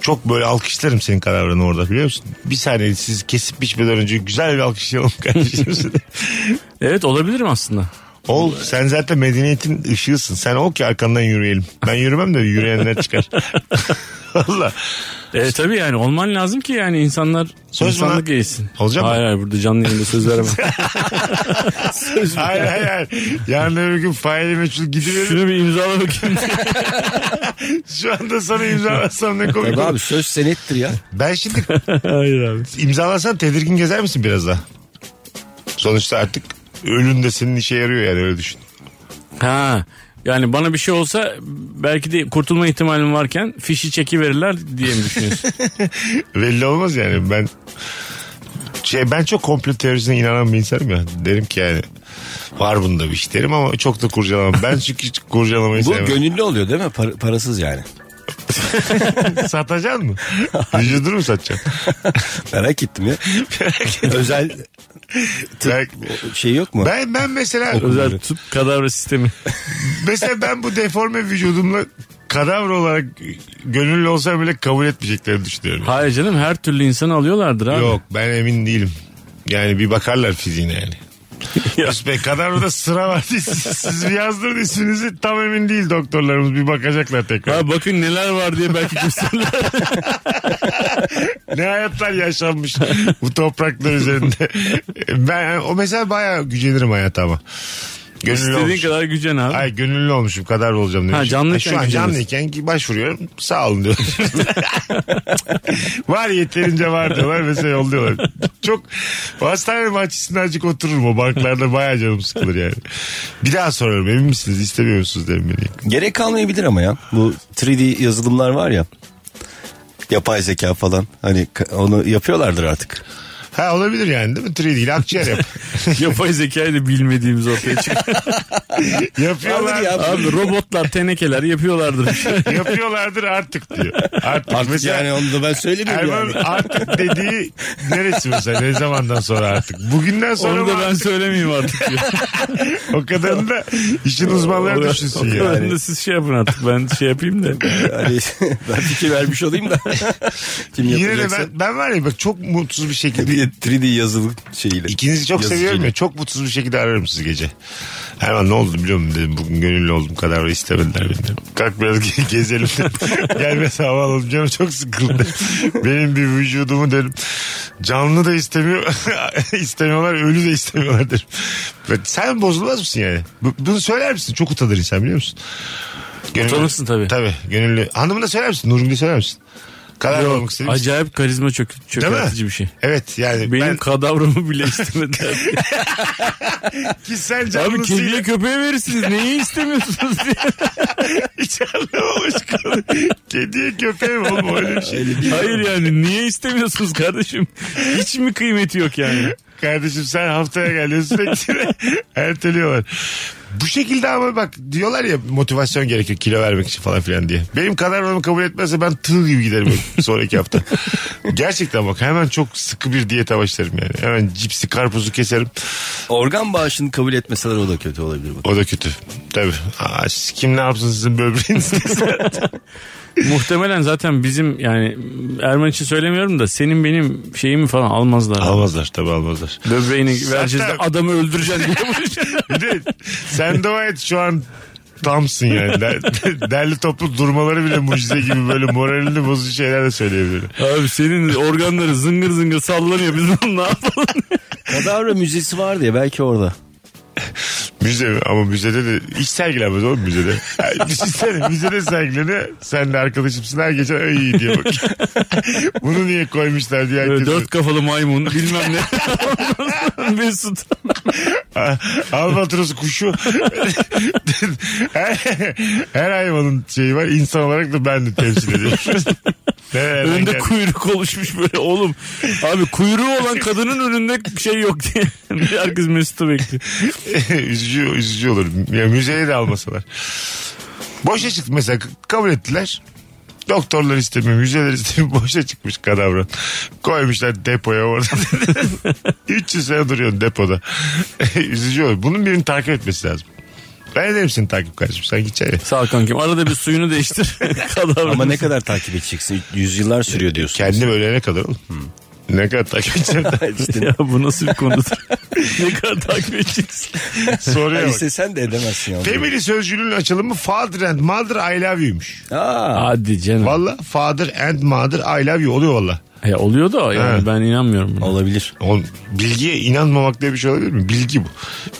[SPEAKER 3] Çok böyle alkışlarım senin kararını orada biliyor musun? Bir saniye siz kesip biçmeden önce güzel bir alkışlayalım kardeşim seni.
[SPEAKER 5] Evet olabilirim aslında.
[SPEAKER 3] Ol sen zaten medeniyetin ışığısın. Sen ol ki arkandan yürüyelim. Ben yürümem de yürüyenler çıkar. Valla.
[SPEAKER 5] E tabii yani olman lazım ki yani insanlar
[SPEAKER 3] Söz mü
[SPEAKER 5] insanlık
[SPEAKER 3] lan?
[SPEAKER 5] eğilsin.
[SPEAKER 3] Olacak mı?
[SPEAKER 5] hayır hayır burada canlı yayında söz veremem.
[SPEAKER 3] Hayır hayır hayır. Yarın öbür gün faili meçhul gidiverir.
[SPEAKER 5] Şunu bir imzala bakayım.
[SPEAKER 3] Şu anda sana imzalasam ne komik
[SPEAKER 4] Tabii
[SPEAKER 3] olur.
[SPEAKER 4] abi söz senettir ya.
[SPEAKER 3] Ben şimdi
[SPEAKER 5] hayır abi.
[SPEAKER 3] imzalasan tedirgin gezer misin biraz daha? Sonuçta artık ölüm de senin işe yarıyor yani öyle düşün.
[SPEAKER 5] Ha. Yani bana bir şey olsa belki de kurtulma ihtimalim varken fişi çekiverirler diye mi düşünüyorsun?
[SPEAKER 3] Belli olmaz yani ben şey ben çok komplo teorisine inanan bir insanım ya. Derim ki yani var bunda bir şey derim ama çok da kurcalamam. Ben çünkü hiç kurcalamayı
[SPEAKER 4] Bu
[SPEAKER 3] sevmem.
[SPEAKER 4] gönüllü oluyor değil mi? Par- parasız yani.
[SPEAKER 3] Satacaksın mı? Vücudunu mu satacaksın?
[SPEAKER 4] Merak ettim ya. Özel
[SPEAKER 3] ben,
[SPEAKER 4] şey yok mu?
[SPEAKER 3] ben, ben mesela
[SPEAKER 5] Özel tıp kadavra sistemi.
[SPEAKER 3] mesela ben bu deforme vücudumla kadavra olarak gönüllü olsam bile kabul etmeyeceklerini düşünüyorum.
[SPEAKER 5] Hayır canım her türlü insanı alıyorlardır abi.
[SPEAKER 3] Yok ben emin değilim. Yani bir bakarlar fiziğine yani. Mesut Bey kadavra da sıra var diye siz, siz bir yazdırın isminizi tam emin değil doktorlarımız bir bakacaklar tekrar.
[SPEAKER 5] Ha bakın neler var diye belki gösterirler.
[SPEAKER 3] ne hayatlar yaşanmış bu topraklar üzerinde. Ben o mesela bayağı gücenirim hayata ama. Gönüllü
[SPEAKER 5] İstediğin
[SPEAKER 3] olmuşum.
[SPEAKER 5] kadar gücen abi.
[SPEAKER 3] Ay gönüllü olmuşum kadar olacağım demişim.
[SPEAKER 5] Ha, canlıyken
[SPEAKER 3] Şu an
[SPEAKER 5] güceniz.
[SPEAKER 3] canlıyken ki başvuruyorum sağ olun diyorlar. var yeterince var diyorlar mesela yolluyorlar. Çok bu hastane bahçesinde azıcık otururum o banklarda bayağı canım sıkılır yani. Bir daha sorarım emin misiniz istemiyor musunuz derim beni.
[SPEAKER 4] Gerek kalmayabilir ama ya. Bu 3D yazılımlar var ya. Yapay zeka falan. Hani ka- onu yapıyorlardır artık.
[SPEAKER 3] Ha olabilir yani değil mi? 3D ile akciğer yap.
[SPEAKER 5] Yapay zekayı da bilmediğimiz ortaya çıkıyor.
[SPEAKER 3] Yapıyorlar.
[SPEAKER 4] Vardır ya.
[SPEAKER 5] abi robotlar tenekeler yapıyorlardır.
[SPEAKER 3] Yapıyorlardır artık diyor. Artık,
[SPEAKER 4] Artık
[SPEAKER 3] mesela
[SPEAKER 4] yani onu da ben söylemiyorum
[SPEAKER 3] Erman
[SPEAKER 4] yani.
[SPEAKER 3] artık dediği neresi mesela ne zamandan sonra artık? Bugünden sonra
[SPEAKER 5] Onu da
[SPEAKER 3] mı
[SPEAKER 5] ben
[SPEAKER 3] artık?
[SPEAKER 5] söylemeyeyim artık. diyor.
[SPEAKER 3] o kadarını da işin uzmanları düşünsün
[SPEAKER 5] o
[SPEAKER 3] yani.
[SPEAKER 5] kadarını da siz şey yapın artık ben şey yapayım da.
[SPEAKER 4] Hani ben fikir vermiş olayım da. Kim
[SPEAKER 3] Yine de
[SPEAKER 4] yapacaksa.
[SPEAKER 3] ben, ben var ya bak çok mutsuz bir şekilde
[SPEAKER 4] Bir de 3D yazılım şeyiyle.
[SPEAKER 3] İkinizi çok
[SPEAKER 4] Yazıcıyla.
[SPEAKER 3] seviyorum ya. Çok mutsuz bir şekilde ararım sizi gece. Erman ne oldu biliyor musun dedim. Bugün gönüllü oldum kadar istemediler beni. dedim. Kalk biraz ge- gezelim dedim. Gel mesela hava alalım canım çok sıkıldı. Benim bir vücudumu dedim. Canlı da istemiyor. istemiyorlar ölü de istemiyorlar dedim. Ve sen bozulmaz mısın yani? Bu- Bunu söyler misin? Çok utanır insan biliyor musun? Gönüllü-
[SPEAKER 5] Utanırsın tabii.
[SPEAKER 3] Tabii gönüllü. Hanımına söyler misin? Nurgül'e söyler misin? Kadar olmak
[SPEAKER 5] Yok,
[SPEAKER 3] istedim.
[SPEAKER 5] acayip karizma çök çökertici bir şey.
[SPEAKER 3] Evet yani
[SPEAKER 5] Benim
[SPEAKER 3] ben
[SPEAKER 5] kadavramı bile istemediler.
[SPEAKER 3] ki sen
[SPEAKER 5] Abi
[SPEAKER 3] canlısıyla-
[SPEAKER 5] kediye köpeğe verirsiniz. Neyi istemiyorsunuz diye.
[SPEAKER 3] Hiç anlamamış kadın. Kediye köpeğe mi oğlum öyle bir şey.
[SPEAKER 5] Hayır yani niye istemiyorsunuz kardeşim? Hiç mi kıymeti yok yani?
[SPEAKER 3] Kardeşim sen haftaya geliyorsun sürekli erteliyorlar. Bu şekilde ama bak diyorlar ya motivasyon gerekiyor kilo vermek için falan filan diye. Benim kadar onu kabul etmezse ben tığ gibi giderim sonraki hafta. Gerçekten bak hemen çok sıkı bir diyete başlarım yani. Hemen cipsi karpuzu keserim.
[SPEAKER 4] Organ bağışını kabul etmeseler o da kötü olabilir. Bak.
[SPEAKER 3] O da kötü. Tabii. Aa, siz kim ne yapsın sizin böbreğinizde?
[SPEAKER 5] Muhtemelen zaten bizim yani Erman için söylemiyorum da senin benim şeyimi falan almazlar.
[SPEAKER 3] Almazlar tabi almazlar.
[SPEAKER 5] Böbreğini
[SPEAKER 3] Zaten-
[SPEAKER 5] vereceğiz de adamı öldüreceğiz diye vuracağız.
[SPEAKER 3] Bir de sen dua et şu an tamsın yani. Der- Derli toplu durmaları bile mucize gibi böyle moralini bozucu şeyler de söyleyebilirim.
[SPEAKER 5] Abi senin organları zıngır zıngır sallanıyor biz bunu ne yapalım?
[SPEAKER 4] Kadavra müzesi var diye belki orada.
[SPEAKER 3] Müze mi? ama müzede de hiç sergilenmez oğlum müzede. Yani Düşünsene müzede sergilene sen de arkadaşımsın her geçen öyle diye bak. Bunu niye koymuşlar diye herkes.
[SPEAKER 5] Böyle dört kafalı maymun bilmem ne. Mesut.
[SPEAKER 3] A- Albatros kuşu. her, her hayvanın şeyi var. İnsan olarak da ben de temsil ediyorum. Nereden
[SPEAKER 5] Önünde
[SPEAKER 3] geldi?
[SPEAKER 5] kuyruk oluşmuş böyle oğlum. Abi kuyruğu olan kadının önünde bir şey yok diye. Herkes Mesut'u bekliyor.
[SPEAKER 3] üzücü, üzücü olur. Ya müzeye de almasalar. Boşa çıktı mesela k- kabul ettiler. Doktorlar istemiyor, müzeler istemiyor. Boşa çıkmış kadavra. Koymuşlar depoya orada. 300 sene duruyor depoda. üzücü olur. Bunun birini takip etmesi lazım. Ben ederim seni takip kardeşim. Sen git içeri.
[SPEAKER 5] Sağ ol kankim. Arada bir suyunu değiştir. Kadavra.
[SPEAKER 4] Ama ne kadar takip edeceksin? Yüzyıllar sürüyor diyorsun.
[SPEAKER 3] Kendim ölene kadar oğlum. Ne kadar takip edeceğim.
[SPEAKER 5] ya bu nasıl bir konudur? ne kadar takip edeceksin?
[SPEAKER 4] Ha,
[SPEAKER 3] Soruya bak.
[SPEAKER 4] istesen de edemezsin yani.
[SPEAKER 3] Family sözcüğünün açılımı father and mother I love you'ymuş.
[SPEAKER 4] Aa,
[SPEAKER 5] Hadi canım.
[SPEAKER 3] Valla father and mother I love you oluyor valla.
[SPEAKER 5] Ya oluyor da yani
[SPEAKER 3] Evet.
[SPEAKER 5] ben inanmıyorum buna.
[SPEAKER 4] olabilir.
[SPEAKER 3] Oğlum, bilgiye inanmamak diye bir şey olabilir mi? Bilgi bu.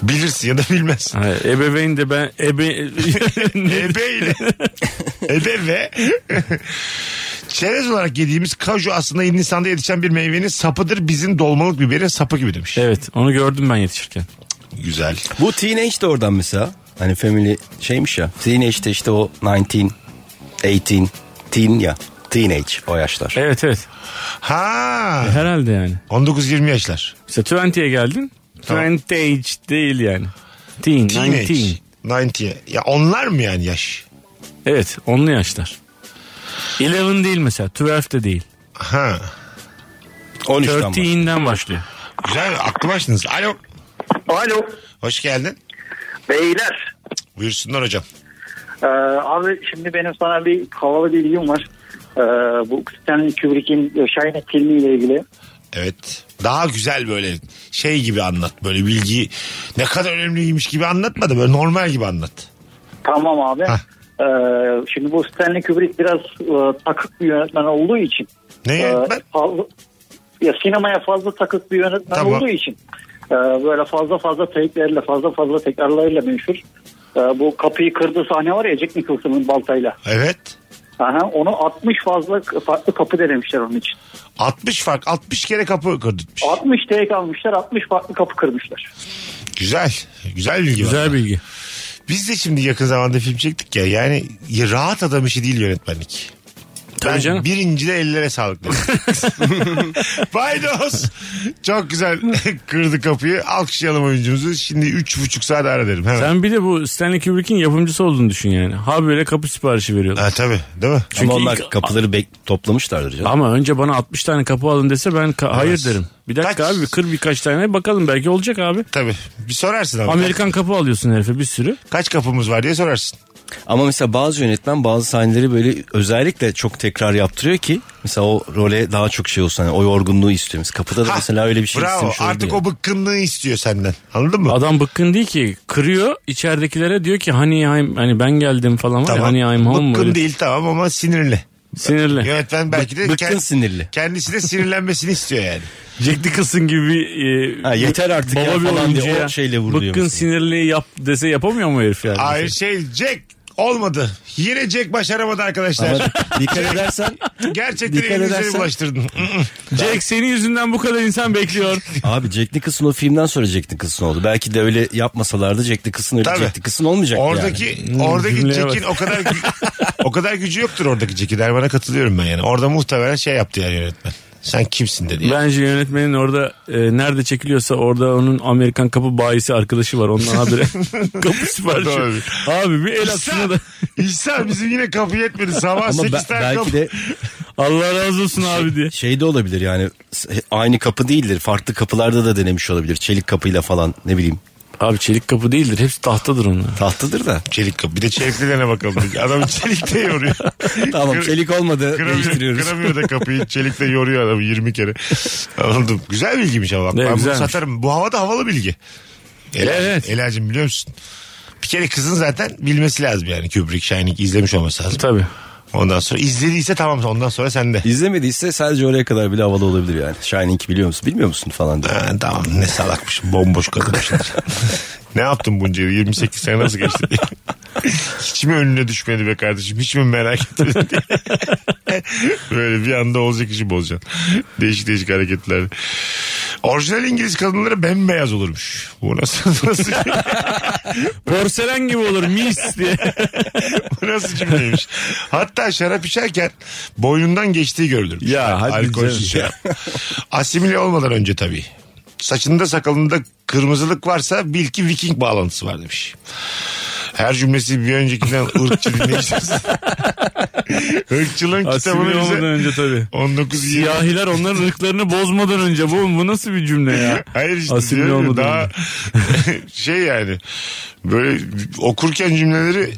[SPEAKER 3] Bilirsin ya da bilmezsin.
[SPEAKER 5] Hayır, ebeveyn de ben ebe ne?
[SPEAKER 3] Ebe ile. Ebe ve. Çerez olarak yediğimiz kaju aslında Hindistan'da yetişen bir meyvenin sapıdır. Bizim dolmalık biberin sapı gibi demiş.
[SPEAKER 5] Evet onu gördüm ben yetişirken.
[SPEAKER 3] Güzel.
[SPEAKER 4] Bu teenage de oradan mesela. Hani family şeymiş ya. Teenage de işte o 19, 18, teen ya. Teenage o yaşlar.
[SPEAKER 3] E,
[SPEAKER 5] Evet evet
[SPEAKER 3] Ha.
[SPEAKER 5] herhalde yani.
[SPEAKER 3] 19-20 yaşlar.
[SPEAKER 5] İşte 20'ye geldin.
[SPEAKER 3] Tamam.
[SPEAKER 5] 20 age değil yani. Teen,
[SPEAKER 3] Teenage.
[SPEAKER 5] 19.
[SPEAKER 3] 90. Ya onlar mı yani yaş?
[SPEAKER 5] Evet onlu yaşlar. 11 değil mesela 12 de değil.
[SPEAKER 3] Ha.
[SPEAKER 4] 13'ten var.
[SPEAKER 5] 13'den başlıyor.
[SPEAKER 3] Güzel aklım açtınız. Alo.
[SPEAKER 6] Alo
[SPEAKER 3] Hoş geldin.
[SPEAKER 6] beyler.
[SPEAKER 3] Buyursunlar hocam.
[SPEAKER 6] Ee, abi şimdi benim sana bir havalı bilgim var. Ee, bu Stanley Kubrick'in e, Shining filmiyle ilgili.
[SPEAKER 3] Evet. Daha güzel böyle şey gibi anlat. Böyle bilgi ne kadar önemliymiş gibi anlatma da böyle normal gibi anlat.
[SPEAKER 6] Tamam abi.
[SPEAKER 3] Hah.
[SPEAKER 6] Ee, şimdi bu Stanley Kubrick biraz e, takık bir yönetmen olduğu için.
[SPEAKER 3] Ne
[SPEAKER 6] e,
[SPEAKER 3] yönetmen?
[SPEAKER 6] fazla- ya sinemaya fazla takık bir yönetmen
[SPEAKER 3] Tamam.
[SPEAKER 6] olduğu için. e, böyle fazla fazla teyitlerle fazla fazla tekrarlarıyla meşhur. E, bu kapıyı kırdığı sahne var ya Jack Nicholson'ın baltayla.
[SPEAKER 3] Evet.
[SPEAKER 6] Aha, onu 60 fazla farklı kapı denemişler onun için.
[SPEAKER 3] 60 fark 60 kere kapı kırdırtmış.
[SPEAKER 6] 60 teyit almışlar 60 farklı kapı kırmışlar.
[SPEAKER 3] Güzel. Güzel bilgi var.
[SPEAKER 5] Güzel bilgi.
[SPEAKER 3] Biz de şimdi yakın zamanda film çektik ya. Yani ya rahat adam işi değil yönetmenlik.
[SPEAKER 5] Tabii
[SPEAKER 3] ben
[SPEAKER 5] canım.
[SPEAKER 3] birinci de ellere sağlık dedim. Paydos. Çok güzel kırdı kapıyı. Alkışlayalım oyuncumuzu. Şimdi üç buçuk saat ara derim. Hemen.
[SPEAKER 5] Sen bir de bu Stanley Kubrick'in yapımcısı olduğunu düşün yani. Ha böyle kapı siparişi veriyorlar.
[SPEAKER 3] Ha, tabii değil mi?
[SPEAKER 4] Ama
[SPEAKER 5] Çünkü
[SPEAKER 4] onlar
[SPEAKER 5] ilk-
[SPEAKER 4] kapıları bek toplamışlardır canım.
[SPEAKER 5] Ama önce bana 60 tane kapı alın dese ben ka- hayır derim. Bir dakika
[SPEAKER 3] Kaç?
[SPEAKER 5] abi bir kır birkaç tane bakalım belki olacak abi.
[SPEAKER 3] Tabii. Bir sorarsın ama.
[SPEAKER 5] Amerikan kapı alıyorsun herife bir sürü.
[SPEAKER 3] Kaç kapımız var diye sorarsın.
[SPEAKER 4] Ama mesela bazı yönetmen bazı sahneleri böyle özellikle çok tekrar yaptırıyor ki mesela o role daha çok şey olsun. Hani o yorgunluğu istiyor. Mesela kapıda da
[SPEAKER 3] Ha,
[SPEAKER 4] mesela öyle bir şey
[SPEAKER 3] Bravo.
[SPEAKER 4] istemiş olabilir
[SPEAKER 3] Artık
[SPEAKER 4] ya.
[SPEAKER 3] o bıkkınlığı istiyor senden. Anladın mı?
[SPEAKER 5] Adam bıkkın değil ki kırıyor içeridekilere diyor ki hani I'm, hani ben geldim falan var ya, hani I'm home
[SPEAKER 3] Bıkkın
[SPEAKER 5] böyle.
[SPEAKER 3] değil tamam ama sinirli.
[SPEAKER 5] Sinirli.
[SPEAKER 3] Yönetmen belki de
[SPEAKER 4] bıkkın sinirli.
[SPEAKER 3] kendisi de sinirlenmesini istiyor yani.
[SPEAKER 5] Jack Nicholson gibi bir, e,
[SPEAKER 4] Ha, yeter artık
[SPEAKER 5] baba
[SPEAKER 4] ya
[SPEAKER 5] bir
[SPEAKER 4] falan diye
[SPEAKER 5] oyuncuya
[SPEAKER 4] o şeyle vuruluyor
[SPEAKER 5] bıkkın
[SPEAKER 4] mesela.
[SPEAKER 5] sinirli yap dese yapamıyor mu herif yani?
[SPEAKER 3] Hayır şey Jack olmadı. Yine Jack başaramadı arkadaşlar.
[SPEAKER 4] Ama dikkat edersen
[SPEAKER 3] Gerçekten
[SPEAKER 4] Dikkat
[SPEAKER 3] elinize
[SPEAKER 4] edersen-
[SPEAKER 3] bulaştırdın.
[SPEAKER 5] Jack senin yüzünden bu kadar insan bekliyor.
[SPEAKER 4] abi Jack Nicholson o filmden sonra Jack Nicholson oldu. Belki de öyle yapmasalardı Jack Nicholson öyle
[SPEAKER 3] Tabii.
[SPEAKER 4] Jack Nicholson olmayacaktı yani. Hmm,
[SPEAKER 3] oradaki oradaki
[SPEAKER 5] cümleye
[SPEAKER 3] Jack'in o kadar o kadar gücü yoktur oradaki Jack'in. Erman'a katılıyorum ben yani. Orada muhtemelen şey yaptı yani yönetmen. Sen kimsin dedi. yani.
[SPEAKER 5] Bence yönetmenin orada e, nerede çekiliyorsa orada onun Amerikan kapı bayisi arkadaşı var. Ondan haberi kapı
[SPEAKER 3] Doğru.
[SPEAKER 5] siparişi. Abi bir el atsana
[SPEAKER 3] İsa,
[SPEAKER 5] da.
[SPEAKER 3] İsa bizim yine kapı yetmedi. Sabah
[SPEAKER 4] Ama be-
[SPEAKER 3] 8 tane kapı.
[SPEAKER 4] belki de
[SPEAKER 5] Allah razı olsun abi diye.
[SPEAKER 4] şey de olabilir yani s- aynı kapı değildir. Farklı kapılarda da denemiş olabilir. Çelik kapıyla falan ne bileyim.
[SPEAKER 5] Abi çelik kapı değildir. Hepsi tahtadır onlar.
[SPEAKER 4] Tahtadır da.
[SPEAKER 3] Çelik kapı. Bir de çeliklilerine bakalım. Adam çelikte yoruyor.
[SPEAKER 4] Tamam
[SPEAKER 3] Kır-
[SPEAKER 4] çelik olmadı
[SPEAKER 3] Kıramıyor,
[SPEAKER 4] değiştiriyoruz.
[SPEAKER 3] kıramıyor da kapıyı çelikte yoruyor adamı 20 kere. Anladım. Güzel bilgiymiş ama bak.
[SPEAKER 5] Ne,
[SPEAKER 3] ben bunu
[SPEAKER 5] güzelmiş.
[SPEAKER 3] satarım. Bu havada havalı bilgi. Ela,
[SPEAKER 5] Evet.
[SPEAKER 3] Ela'cığım biliyor musun? Bir kere kızın zaten bilmesi lazım yani Kubrick, Shining izlemiş olması lazım.
[SPEAKER 5] Tabii.
[SPEAKER 3] Ondan sonra izlediyse tamam ondan sonra sende.
[SPEAKER 4] İzlemediyse sadece oraya kadar bile havalı olabilir yani. Shining biliyor musun? Bilmiyor musun falan diye.
[SPEAKER 3] Ha, tamam ne salakmışım bomboş kadınmışım. ne yaptın bunca yıl 28 sene nasıl geçti diye. Hiç mi önüne düşmedi be kardeşim? Hiç mi merak etmedin diye. Böyle bir anda olacak işi bozacaksın. Değişik değişik hareketler. Orijinal İngiliz kadınları bembeyaz olurmuş. Bu nasıl, nasıl,
[SPEAKER 5] Porselen gibi olur mis diye.
[SPEAKER 3] bu nasıl cümleymiş? Hatta şarap içerken boynundan geçtiği görülür.
[SPEAKER 5] Ya, hadi
[SPEAKER 3] Alkolsüz şarap. Asimile olmadan önce tabii. Saçında sakalında kırmızılık varsa bil ki Viking bağlantısı var demiş. Her cümlesi bir öncekinden ırkçı dinleyeceğiz. Irkçılığın kitabını
[SPEAKER 5] Asimile olmadan
[SPEAKER 3] bize
[SPEAKER 5] önce tabii.
[SPEAKER 3] 19 yirmi-
[SPEAKER 5] Siyahiler onların ırklarını bozmadan önce. Bu, bu nasıl bir cümle ya?
[SPEAKER 3] Hayır işte
[SPEAKER 5] Asimile
[SPEAKER 3] diyorum ya,
[SPEAKER 5] olmadan
[SPEAKER 3] daha şey yani böyle okurken cümleleri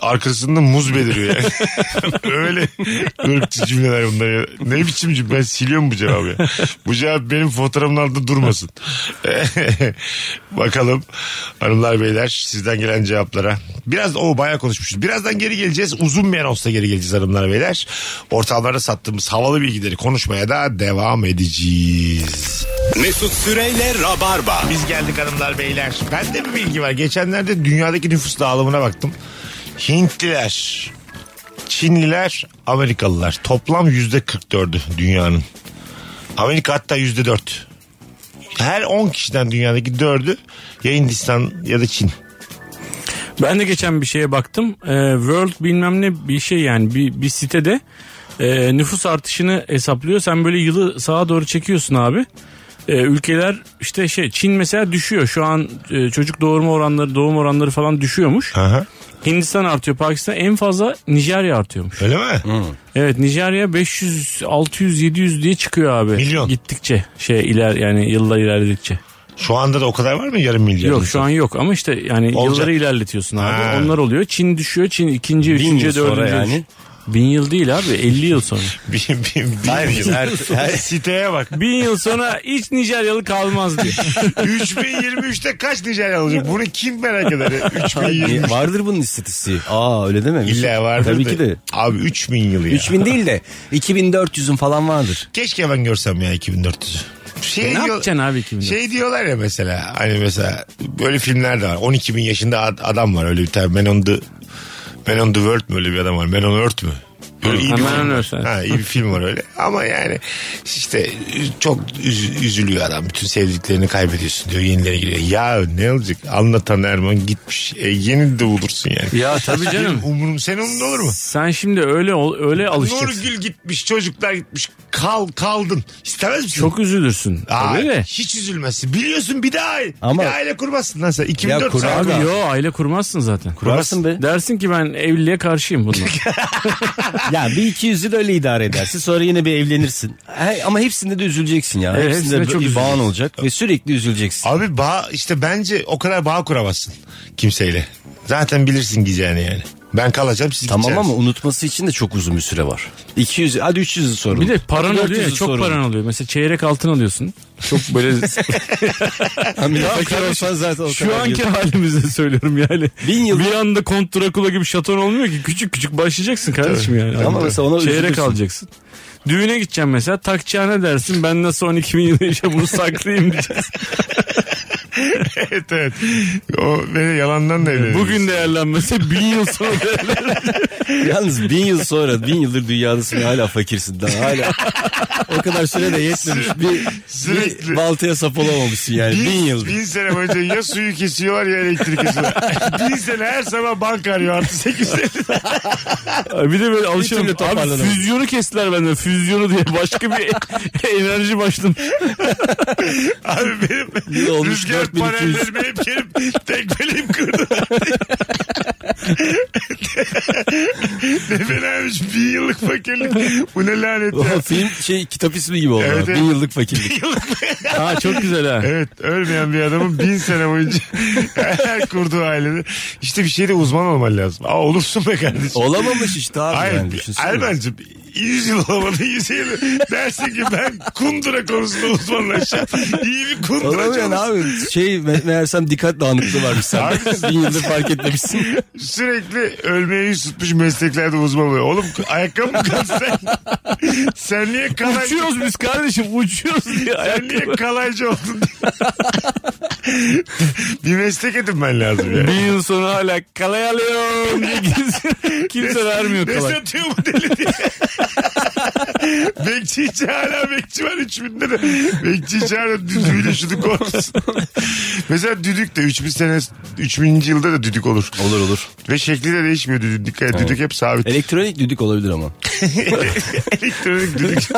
[SPEAKER 3] arkasında muz beliriyor yani. Öyle ırkçı cümleler bunlar ya. Ne biçim cümle? Ben siliyorum bu cevabı ya. Bu cevap benim fotoğrafımın altında durmasın. Bakalım hanımlar beyler sizden gelen cevaplara. Biraz o bayağı konuşmuşuz. Birazdan geri geleceğiz. Uzun bir anonsla geri geleceğiz hanımlar beyler. Ortamlarda sattığımız havalı bilgileri konuşmaya da devam edeceğiz.
[SPEAKER 2] Mesut Süreyle Rabarba.
[SPEAKER 3] Biz geldik hanımlar beyler. Bende bir bilgi var. Geçenlerde dünyadaki nüfus dağılımına baktım. Hintliler, Çinliler, Amerikalılar. Toplam yüzde 44'ü dünyanın. Amerika hatta yüzde 4. Her 10 kişiden dünyadaki 4'ü ya Hindistan ya da Çin.
[SPEAKER 5] Ben de geçen bir şeye baktım. Ee, World bilmem ne bir şey yani bir, bir sitede e, nüfus artışını hesaplıyor. Sen böyle yılı sağa doğru çekiyorsun abi. Ee, ülkeler işte şey Çin mesela düşüyor. Şu an e, çocuk doğurma oranları, doğum oranları falan düşüyormuş.
[SPEAKER 3] Aha.
[SPEAKER 5] Hindistan artıyor, Pakistan en fazla Nijerya artıyormuş.
[SPEAKER 3] Öyle mi?
[SPEAKER 5] Evet Nijerya 500, 600, 700 diye çıkıyor abi.
[SPEAKER 3] Milyon.
[SPEAKER 5] Gittikçe şey iler yani yıllar ilerledikçe.
[SPEAKER 3] Şu anda da o kadar var mı yarım milyar?
[SPEAKER 5] Yok şu an yok ama işte yani
[SPEAKER 3] Olacak.
[SPEAKER 5] yılları ilerletiyorsun abi.
[SPEAKER 3] Ha.
[SPEAKER 5] Onlar oluyor. Çin düşüyor. Çin ikinci,
[SPEAKER 4] Bin
[SPEAKER 5] üçüncü,
[SPEAKER 4] yıl sonra
[SPEAKER 5] dördüncü.
[SPEAKER 4] yani.
[SPEAKER 5] Bin yıl değil abi 50 yıl sonra.
[SPEAKER 3] Bir, bir, bir-
[SPEAKER 4] Hayır, her- her-
[SPEAKER 3] Siteye bak.
[SPEAKER 5] Bin yıl sonra hiç Nijeryalı kalmaz diye.
[SPEAKER 3] 3023'te kaç Nijerya olacak? Bunu kim merak eder? ya? 3023.
[SPEAKER 4] Niye- E, Vardır bunun istatistiği. Aa öyle deme.
[SPEAKER 3] İlla vardır
[SPEAKER 4] Tabii
[SPEAKER 3] da.
[SPEAKER 4] ki de.
[SPEAKER 3] Abi 3000 yılı ya.
[SPEAKER 4] 3000 değil de 2400'ün falan vardır.
[SPEAKER 3] Keşke ben görsem ya 2400'ü. Şey
[SPEAKER 5] E, ne
[SPEAKER 3] diyor-
[SPEAKER 5] yapacaksın abi 2000
[SPEAKER 3] Şey diyorlar ya mesela hani mesela böyle filmler de var. 12 bin yaşında ad- adam var öyle bir tane. Man on the, Man on the World mü öyle bir adam var? Man on Earth mü? Böyle iyi bir,
[SPEAKER 5] Ha, Man
[SPEAKER 3] film
[SPEAKER 5] on
[SPEAKER 3] var.
[SPEAKER 5] Earth, evet.
[SPEAKER 3] ha, iyi bir film var öyle. Ama yani işte çok üz- üzülüyor adam. Bütün sevdiklerini kaybediyorsun diyor. Yenileri giriyor. Ya ne olacak? Anlatan Erman gitmiş. E, yeni de bulursun yani.
[SPEAKER 5] Ya tabii canım.
[SPEAKER 3] Umurum senin umurun olur mu?
[SPEAKER 5] Sen şimdi öyle ol- öyle alışacaksın.
[SPEAKER 3] Nurgül gitmiş, çocuklar gitmiş. Kal kaldın. İstemez misin?
[SPEAKER 5] Çok üzülürsün.
[SPEAKER 3] Aa,
[SPEAKER 5] Tabii de.
[SPEAKER 3] Hiç üzülmezsin. Biliyorsun bir daha,
[SPEAKER 4] Ama-
[SPEAKER 3] bir daha aile kurmazsın lan sen. 2004
[SPEAKER 4] Ya kurar
[SPEAKER 5] Abi
[SPEAKER 3] sen-
[SPEAKER 4] da.
[SPEAKER 5] yo aile kurmazsın zaten.
[SPEAKER 4] Kurarsın be.
[SPEAKER 5] Dersin ki ben evliliğe karşıyım bundan.
[SPEAKER 4] ya bir 200'ü de öyle idare edersin. Sonra yine bir evlenirsin. He- ama hepsinde de üzüleceksin ya.
[SPEAKER 5] Evet,
[SPEAKER 4] hepsinde,
[SPEAKER 5] hepsinde çok
[SPEAKER 4] bir bağın
[SPEAKER 5] üzüleceksin.
[SPEAKER 4] olacak ve sürekli üzüleceksin.
[SPEAKER 3] Abi bağ işte bence o kadar bağ kuramazsın kimseyle. Zaten bilirsin gideceğini yani. Ben kalacağım siz
[SPEAKER 4] Tamam ama
[SPEAKER 3] gideceksiniz.
[SPEAKER 4] unutması için de çok uzun bir süre var. 200 hadi 300'ü sorun.
[SPEAKER 5] Bir de paran
[SPEAKER 4] Hadi
[SPEAKER 5] oluyor ya
[SPEAKER 4] 400'ü
[SPEAKER 5] çok
[SPEAKER 4] sorun.
[SPEAKER 5] paran oluyor. Mesela çeyrek altın alıyorsun. Çok böyle
[SPEAKER 4] Ha, bir de fakir olsan zaten o
[SPEAKER 5] Şu
[SPEAKER 4] kadar
[SPEAKER 5] anki
[SPEAKER 4] yok.
[SPEAKER 5] halimizde söylüyorum yani.
[SPEAKER 4] Bin yıl-
[SPEAKER 5] Bir anda Kont Drakula gibi şaton olmuyor ki. Küçük küçük başlayacaksın kardeşim yani.
[SPEAKER 4] Ama mesela ona
[SPEAKER 5] Çeyrek
[SPEAKER 4] üzülürsün.
[SPEAKER 5] alacaksın. Düğüne gideceğim mesela takacağına dersin ben nasıl 12 bin yıl yaşa bunu saklayayım diyeceksin.
[SPEAKER 3] evet evet. O beni yalandan da evlenir.
[SPEAKER 5] Bugün değerlenmese bin yıl sonra değerlenir.
[SPEAKER 4] Yalnız bin yıl sonra bin yıldır dünyadasın hala fakirsin daha hala. o kadar süre de yetmemiş. Bir,
[SPEAKER 3] Sürekli.
[SPEAKER 4] bir baltaya sap olamamışsın yani bin, yıldır.
[SPEAKER 3] Bin sene boyunca ya suyu kesiyorlar ya elektrik kesiyorlar. bin sene her sabah banka arıyor artı 8
[SPEAKER 5] Bir de böyle alışalım.
[SPEAKER 4] türlü
[SPEAKER 5] Abi
[SPEAKER 4] toparlanamadım.
[SPEAKER 5] füzyonu kestiler benden füzyonu diye başka bir enerji başladım.
[SPEAKER 3] Abi benim
[SPEAKER 4] Yıl olmuş
[SPEAKER 3] rüzgar
[SPEAKER 4] 4200.
[SPEAKER 3] panellerimi hep gelip tek belim kırdı. ne fenaymış bin yıllık fakirlik. Bu ne lanet ya.
[SPEAKER 4] O film şey kitap ismi gibi oldu.
[SPEAKER 3] Evet, evet.
[SPEAKER 4] Bin yıllık fakirlik.
[SPEAKER 5] Aa çok güzel ha.
[SPEAKER 3] Evet ölmeyen bir adamın bin sene boyunca her kurduğu ailede. işte bir şeyde uzman olman lazım. Aa, olursun be kardeşim.
[SPEAKER 4] Olamamış işte abi.
[SPEAKER 3] Hayır,
[SPEAKER 4] yani,
[SPEAKER 3] bir-
[SPEAKER 4] düşünsene.
[SPEAKER 3] Ermen'cim 100 yıl olamadı 100 yıl. Dersin ki ben kundura konusunda uzmanlaşacağım. İyi bir kundura
[SPEAKER 4] Olamayan
[SPEAKER 3] çalışsın.
[SPEAKER 4] abi şey me- meğersem dikkat dağınıklığı varmış sende. Bin yıldır fark etmemişsin.
[SPEAKER 3] Sürekli ölmeye yüz tutmuş mesleklerde uzman oluyor. Oğlum ayakkabı mı kaldı sen? sen niye kalay...
[SPEAKER 5] Uçuyoruz biz kardeşim uçuyoruz diye
[SPEAKER 3] Sen niye
[SPEAKER 5] ayakkabı.
[SPEAKER 3] kalaycı oldun? bir meslek edinmen lazım yani.
[SPEAKER 5] Bir yıl sonra hala kalay alıyorum diye kimse, kimse vermiyor
[SPEAKER 3] Ne
[SPEAKER 5] kalay.
[SPEAKER 3] satıyor bu deli diye. bekçi içi hala bekçi var 3000 lira. Bekçi içi hala düdüğüyle şunu korksun. Mesela düdük de 3000 sene 3000. yılda da düdük olur.
[SPEAKER 4] Olur olur.
[SPEAKER 3] Ve şekli de değişmiyor düdüğün. Dikkat et, düdük hep sabit.
[SPEAKER 4] Elektronik düdük olabilir ama.
[SPEAKER 3] Elektronik düdük.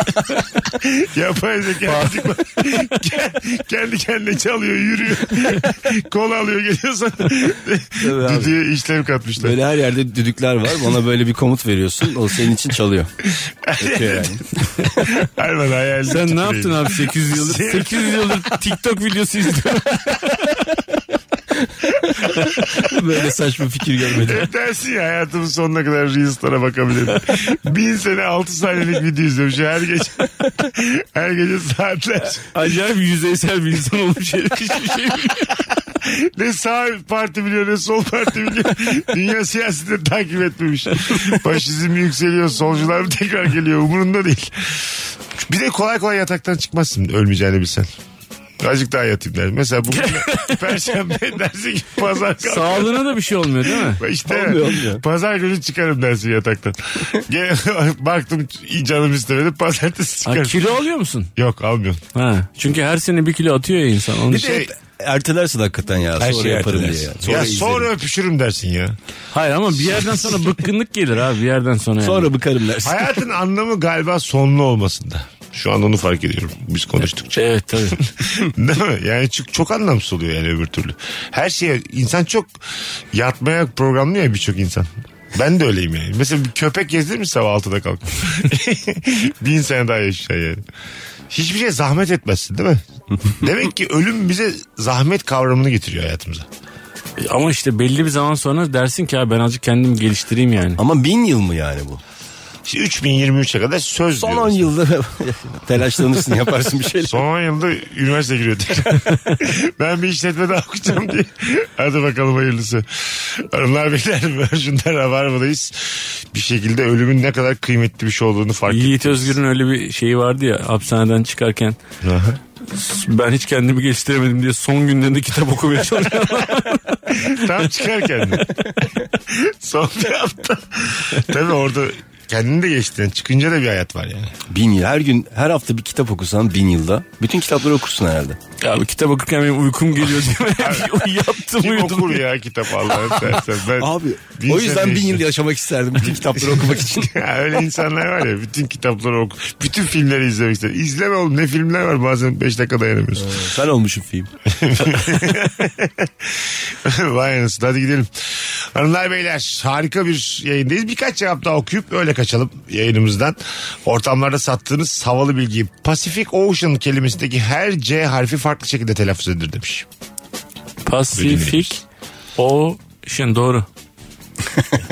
[SPEAKER 3] Yapay zeka düdük var. Ke- Kendi kendine çalıyor, yürüyor. Kol alıyor geliyorsa.
[SPEAKER 4] abi.
[SPEAKER 3] Düdüğe işlem katmışlar.
[SPEAKER 4] Böyle her yerde düdükler var. Ona böyle bir komut veriyorsun. O senin için çalıyor. Ötüyor yani.
[SPEAKER 3] Hayvan hayal. şey.
[SPEAKER 5] Sen ne yaptın abi 800 yıldır?
[SPEAKER 3] Sen-
[SPEAKER 5] 800 yıldır TikTok videosu izliyorum.
[SPEAKER 4] Böyle saçma fikir görmedim.
[SPEAKER 3] Hep dersin ya hayatımın sonuna kadar Reels'lara bakabilirim. Bin sene altı saniyelik video izlemiş her gece. her gece saatler.
[SPEAKER 5] Acayip yüzeysel bir insan olmuş. Hiçbir şey
[SPEAKER 3] Ne sağ parti biliyor ne sol parti biliyor. Dünya siyasetini takip etmemiş. Faşizm yükseliyor solcular mı tekrar geliyor umurunda değil. Bir de kolay kolay yataktan çıkmazsın ölmeyeceğini bilsen. Azıcık daha yatayım der. Mesela bugün perşembe dersin ki pazar kalk.
[SPEAKER 5] Sağlığına da bir şey olmuyor değil mi?
[SPEAKER 3] İşte
[SPEAKER 4] Olmuyor, olmuyor.
[SPEAKER 3] pazar günü çıkarım dersin yataktan. Gene baktım iyi canım istemedi pazartesi
[SPEAKER 5] Ha,
[SPEAKER 3] çıkarım.
[SPEAKER 5] kilo alıyor musun?
[SPEAKER 3] Yok almıyorum. Şey,
[SPEAKER 5] Ha, çünkü her sene bir kilo atıyor ya insan. Onun
[SPEAKER 4] Bir
[SPEAKER 5] için-
[SPEAKER 4] de ertelersin hakikaten ya.
[SPEAKER 3] Her
[SPEAKER 4] sonra
[SPEAKER 3] şeyi
[SPEAKER 4] yaparım diye.
[SPEAKER 3] ertelersin.
[SPEAKER 4] yani.
[SPEAKER 3] ya
[SPEAKER 4] izlerim.
[SPEAKER 3] sonra öpüşürüm dersin ya.
[SPEAKER 5] Hayır ama bir yerden sonra bıkkınlık gelir abi bir yerden sonra. Yani.
[SPEAKER 4] Sonra bıkarım dersin.
[SPEAKER 3] Hayatın anlamı galiba sonlu olmasında. Şu an onu fark ediyorum biz konuştukça.
[SPEAKER 5] Evet tabii.
[SPEAKER 3] Değil mi? Yani çok, çok anlamsız oluyor yani öbür türlü. Her şeye insan çok yatmaya programlı ya birçok insan. Ben de öyleyim yani. Mesela bir köpek gezdirir mi sabah 6'da kalkıp? Bin sene daha yaşayacaksın yani. Hiçbir şey zahmet etmezsin değil mi? Demek ki ölüm bize zahmet kavramını getiriyor hayatımıza.
[SPEAKER 5] E, ama işte belli bir zaman sonra dersin ki abi ben azıcık kendimi geliştireyim yani.
[SPEAKER 4] Ama bin yıl mı yani bu?
[SPEAKER 3] İşte 3023'e kadar söz
[SPEAKER 4] Son
[SPEAKER 3] diyoruz.
[SPEAKER 4] 10 yılda telaşlanırsın yaparsın bir şeyler.
[SPEAKER 3] Son 10 yılda üniversite giriyor. ben bir işletme daha okuyacağım diye. Hadi bakalım hayırlısı. Hanımlar beyler Virgin'de Rabarba'dayız. Bir şekilde ölümün ne kadar kıymetli bir şey olduğunu fark ettim.
[SPEAKER 5] Yiğit Özgür'ün öyle bir şeyi vardı ya hapishaneden çıkarken ben hiç kendimi geliştiremedim diye son günlerinde kitap okumaya çalışıyorum.
[SPEAKER 3] Tam çıkarken de. Son bir hafta. Tabii orada kendini de geçtin. Çıkınca da bir hayat var yani.
[SPEAKER 4] Bin yıl. Her gün her hafta bir kitap okusan bin yılda. Bütün kitapları okursun herhalde.
[SPEAKER 5] abi kitap okurken benim uykum geliyor diye ben yattım
[SPEAKER 3] Kim
[SPEAKER 5] uyudum.
[SPEAKER 3] okur ya kitap Allah'ın sersen. Ben
[SPEAKER 4] Abi
[SPEAKER 3] bin
[SPEAKER 4] o
[SPEAKER 3] sene
[SPEAKER 4] yüzden bin yıl yaşamak isterdim bütün kitapları okumak için.
[SPEAKER 3] Ya öyle insanlar var ya bütün kitapları oku. Bütün filmleri izlemek ister. İzleme oğlum ne filmler var bazen 5 dakika dayanamıyorsun.
[SPEAKER 4] Sen olmuşum film.
[SPEAKER 3] Vay anasını hadi gidelim. Hanımlar beyler harika bir yayındayız. Birkaç cevap daha okuyup öyle kaçalım yayınımızdan. Ortamlarda sattığınız havalı bilgi. Pacific Ocean kelimesindeki her C harfi farklı şekilde telaffuz edilir demiş.
[SPEAKER 5] Pacific Ocean doğru.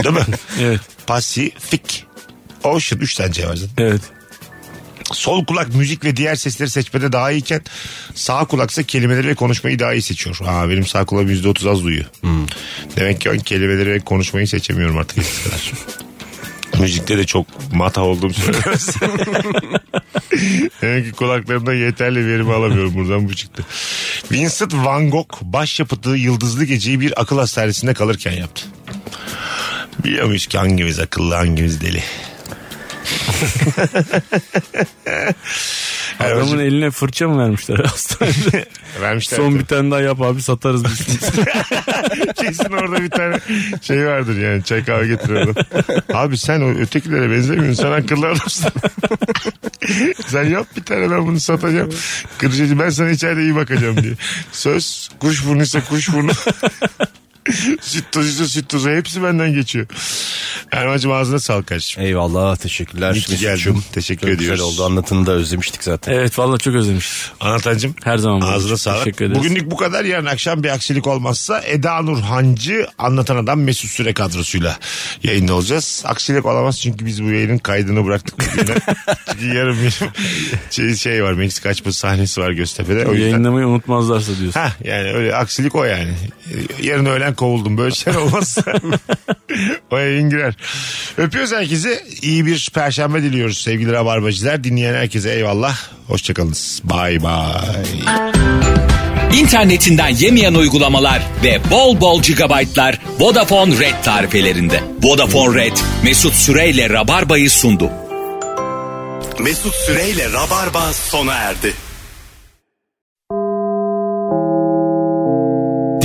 [SPEAKER 3] Değil mi?
[SPEAKER 5] Evet.
[SPEAKER 3] Pacific Ocean 3 tane C var zaten.
[SPEAKER 5] Evet.
[SPEAKER 3] Sol kulak müzik ve diğer sesleri seçmede daha iyiyken sağ kulaksa kelimeleri ve konuşmayı daha iyi seçiyor. Aa, benim sağ kulağım %30 az duyuyor. Demek ki ben kelimeleri ve konuşmayı seçemiyorum artık eskisi kadar. Müzikte de çok mata olduğum söylemez. Demek ki kulaklarımda yeterli verimi alamıyorum buradan bu çıktı. Vincent Van Gogh başyapıtı Yıldızlı Gece'yi bir akıl hastanesinde kalırken yaptı. Biliyor muyuz ki hangimiz akıllı hangimiz deli?
[SPEAKER 5] Adamın eline fırça mı vermişler hastanede?
[SPEAKER 3] Vermişler.
[SPEAKER 5] Son bir tane daha yap abi satarız biz.
[SPEAKER 3] Kesin orada bir tane şey vardır yani çay kahve getiriyor adam. Abi sen o ötekilere benzemiyorsun sen akıllı adamsın. sen yap bir tane ben bunu satacağım. Kırıcı ben sana içeride iyi bakacağım diye. Söz kuş burnuysa kuş burnu. süt tozucu süt tozu hepsi benden geçiyor. Erman'cığım ağzına sağlık kardeşim.
[SPEAKER 4] Eyvallah teşekkürler.
[SPEAKER 3] İyi ki geldin.
[SPEAKER 4] Mesut'cum.
[SPEAKER 3] Teşekkür
[SPEAKER 4] Çok
[SPEAKER 3] ediyoruz.
[SPEAKER 4] Güzel oldu anlatını da özlemiştik zaten.
[SPEAKER 5] Evet valla çok özlemiş.
[SPEAKER 3] Anlatancığım.
[SPEAKER 5] Her zaman babacığım.
[SPEAKER 3] Ağzına sağlık.
[SPEAKER 5] Teşekkür ederiz.
[SPEAKER 3] Bugünlük bu kadar. Yarın akşam bir aksilik olmazsa Eda Nur Hancı anlatan adam Mesut Süre kadrosuyla yayında olacağız. Aksilik olamaz çünkü biz bu yayının kaydını bıraktık. bugüne. çünkü yarın benim şey, şey var Meksika açması sahnesi var Göztepe'de. O yüzden
[SPEAKER 5] Yayınlamayı unutmazlarsa diyorsun.
[SPEAKER 3] Ha yani öyle aksilik o yani. Yarın öğlen kovuldum. Böyle şeyler olmazsa o yayın girer. Öpüyoruz herkese. İyi bir perşembe diliyoruz sevgili rabarbacılar. Dinleyen herkese eyvallah. Hoşçakalınız. Bay bay.
[SPEAKER 1] İnternetinden yemeyen uygulamalar ve bol bol gigabaytlar Vodafone Red tarifelerinde. Vodafone Red Mesut Süreyle Rabarba'yı sundu.
[SPEAKER 2] Mesut Süreyle Rabarba sona erdi.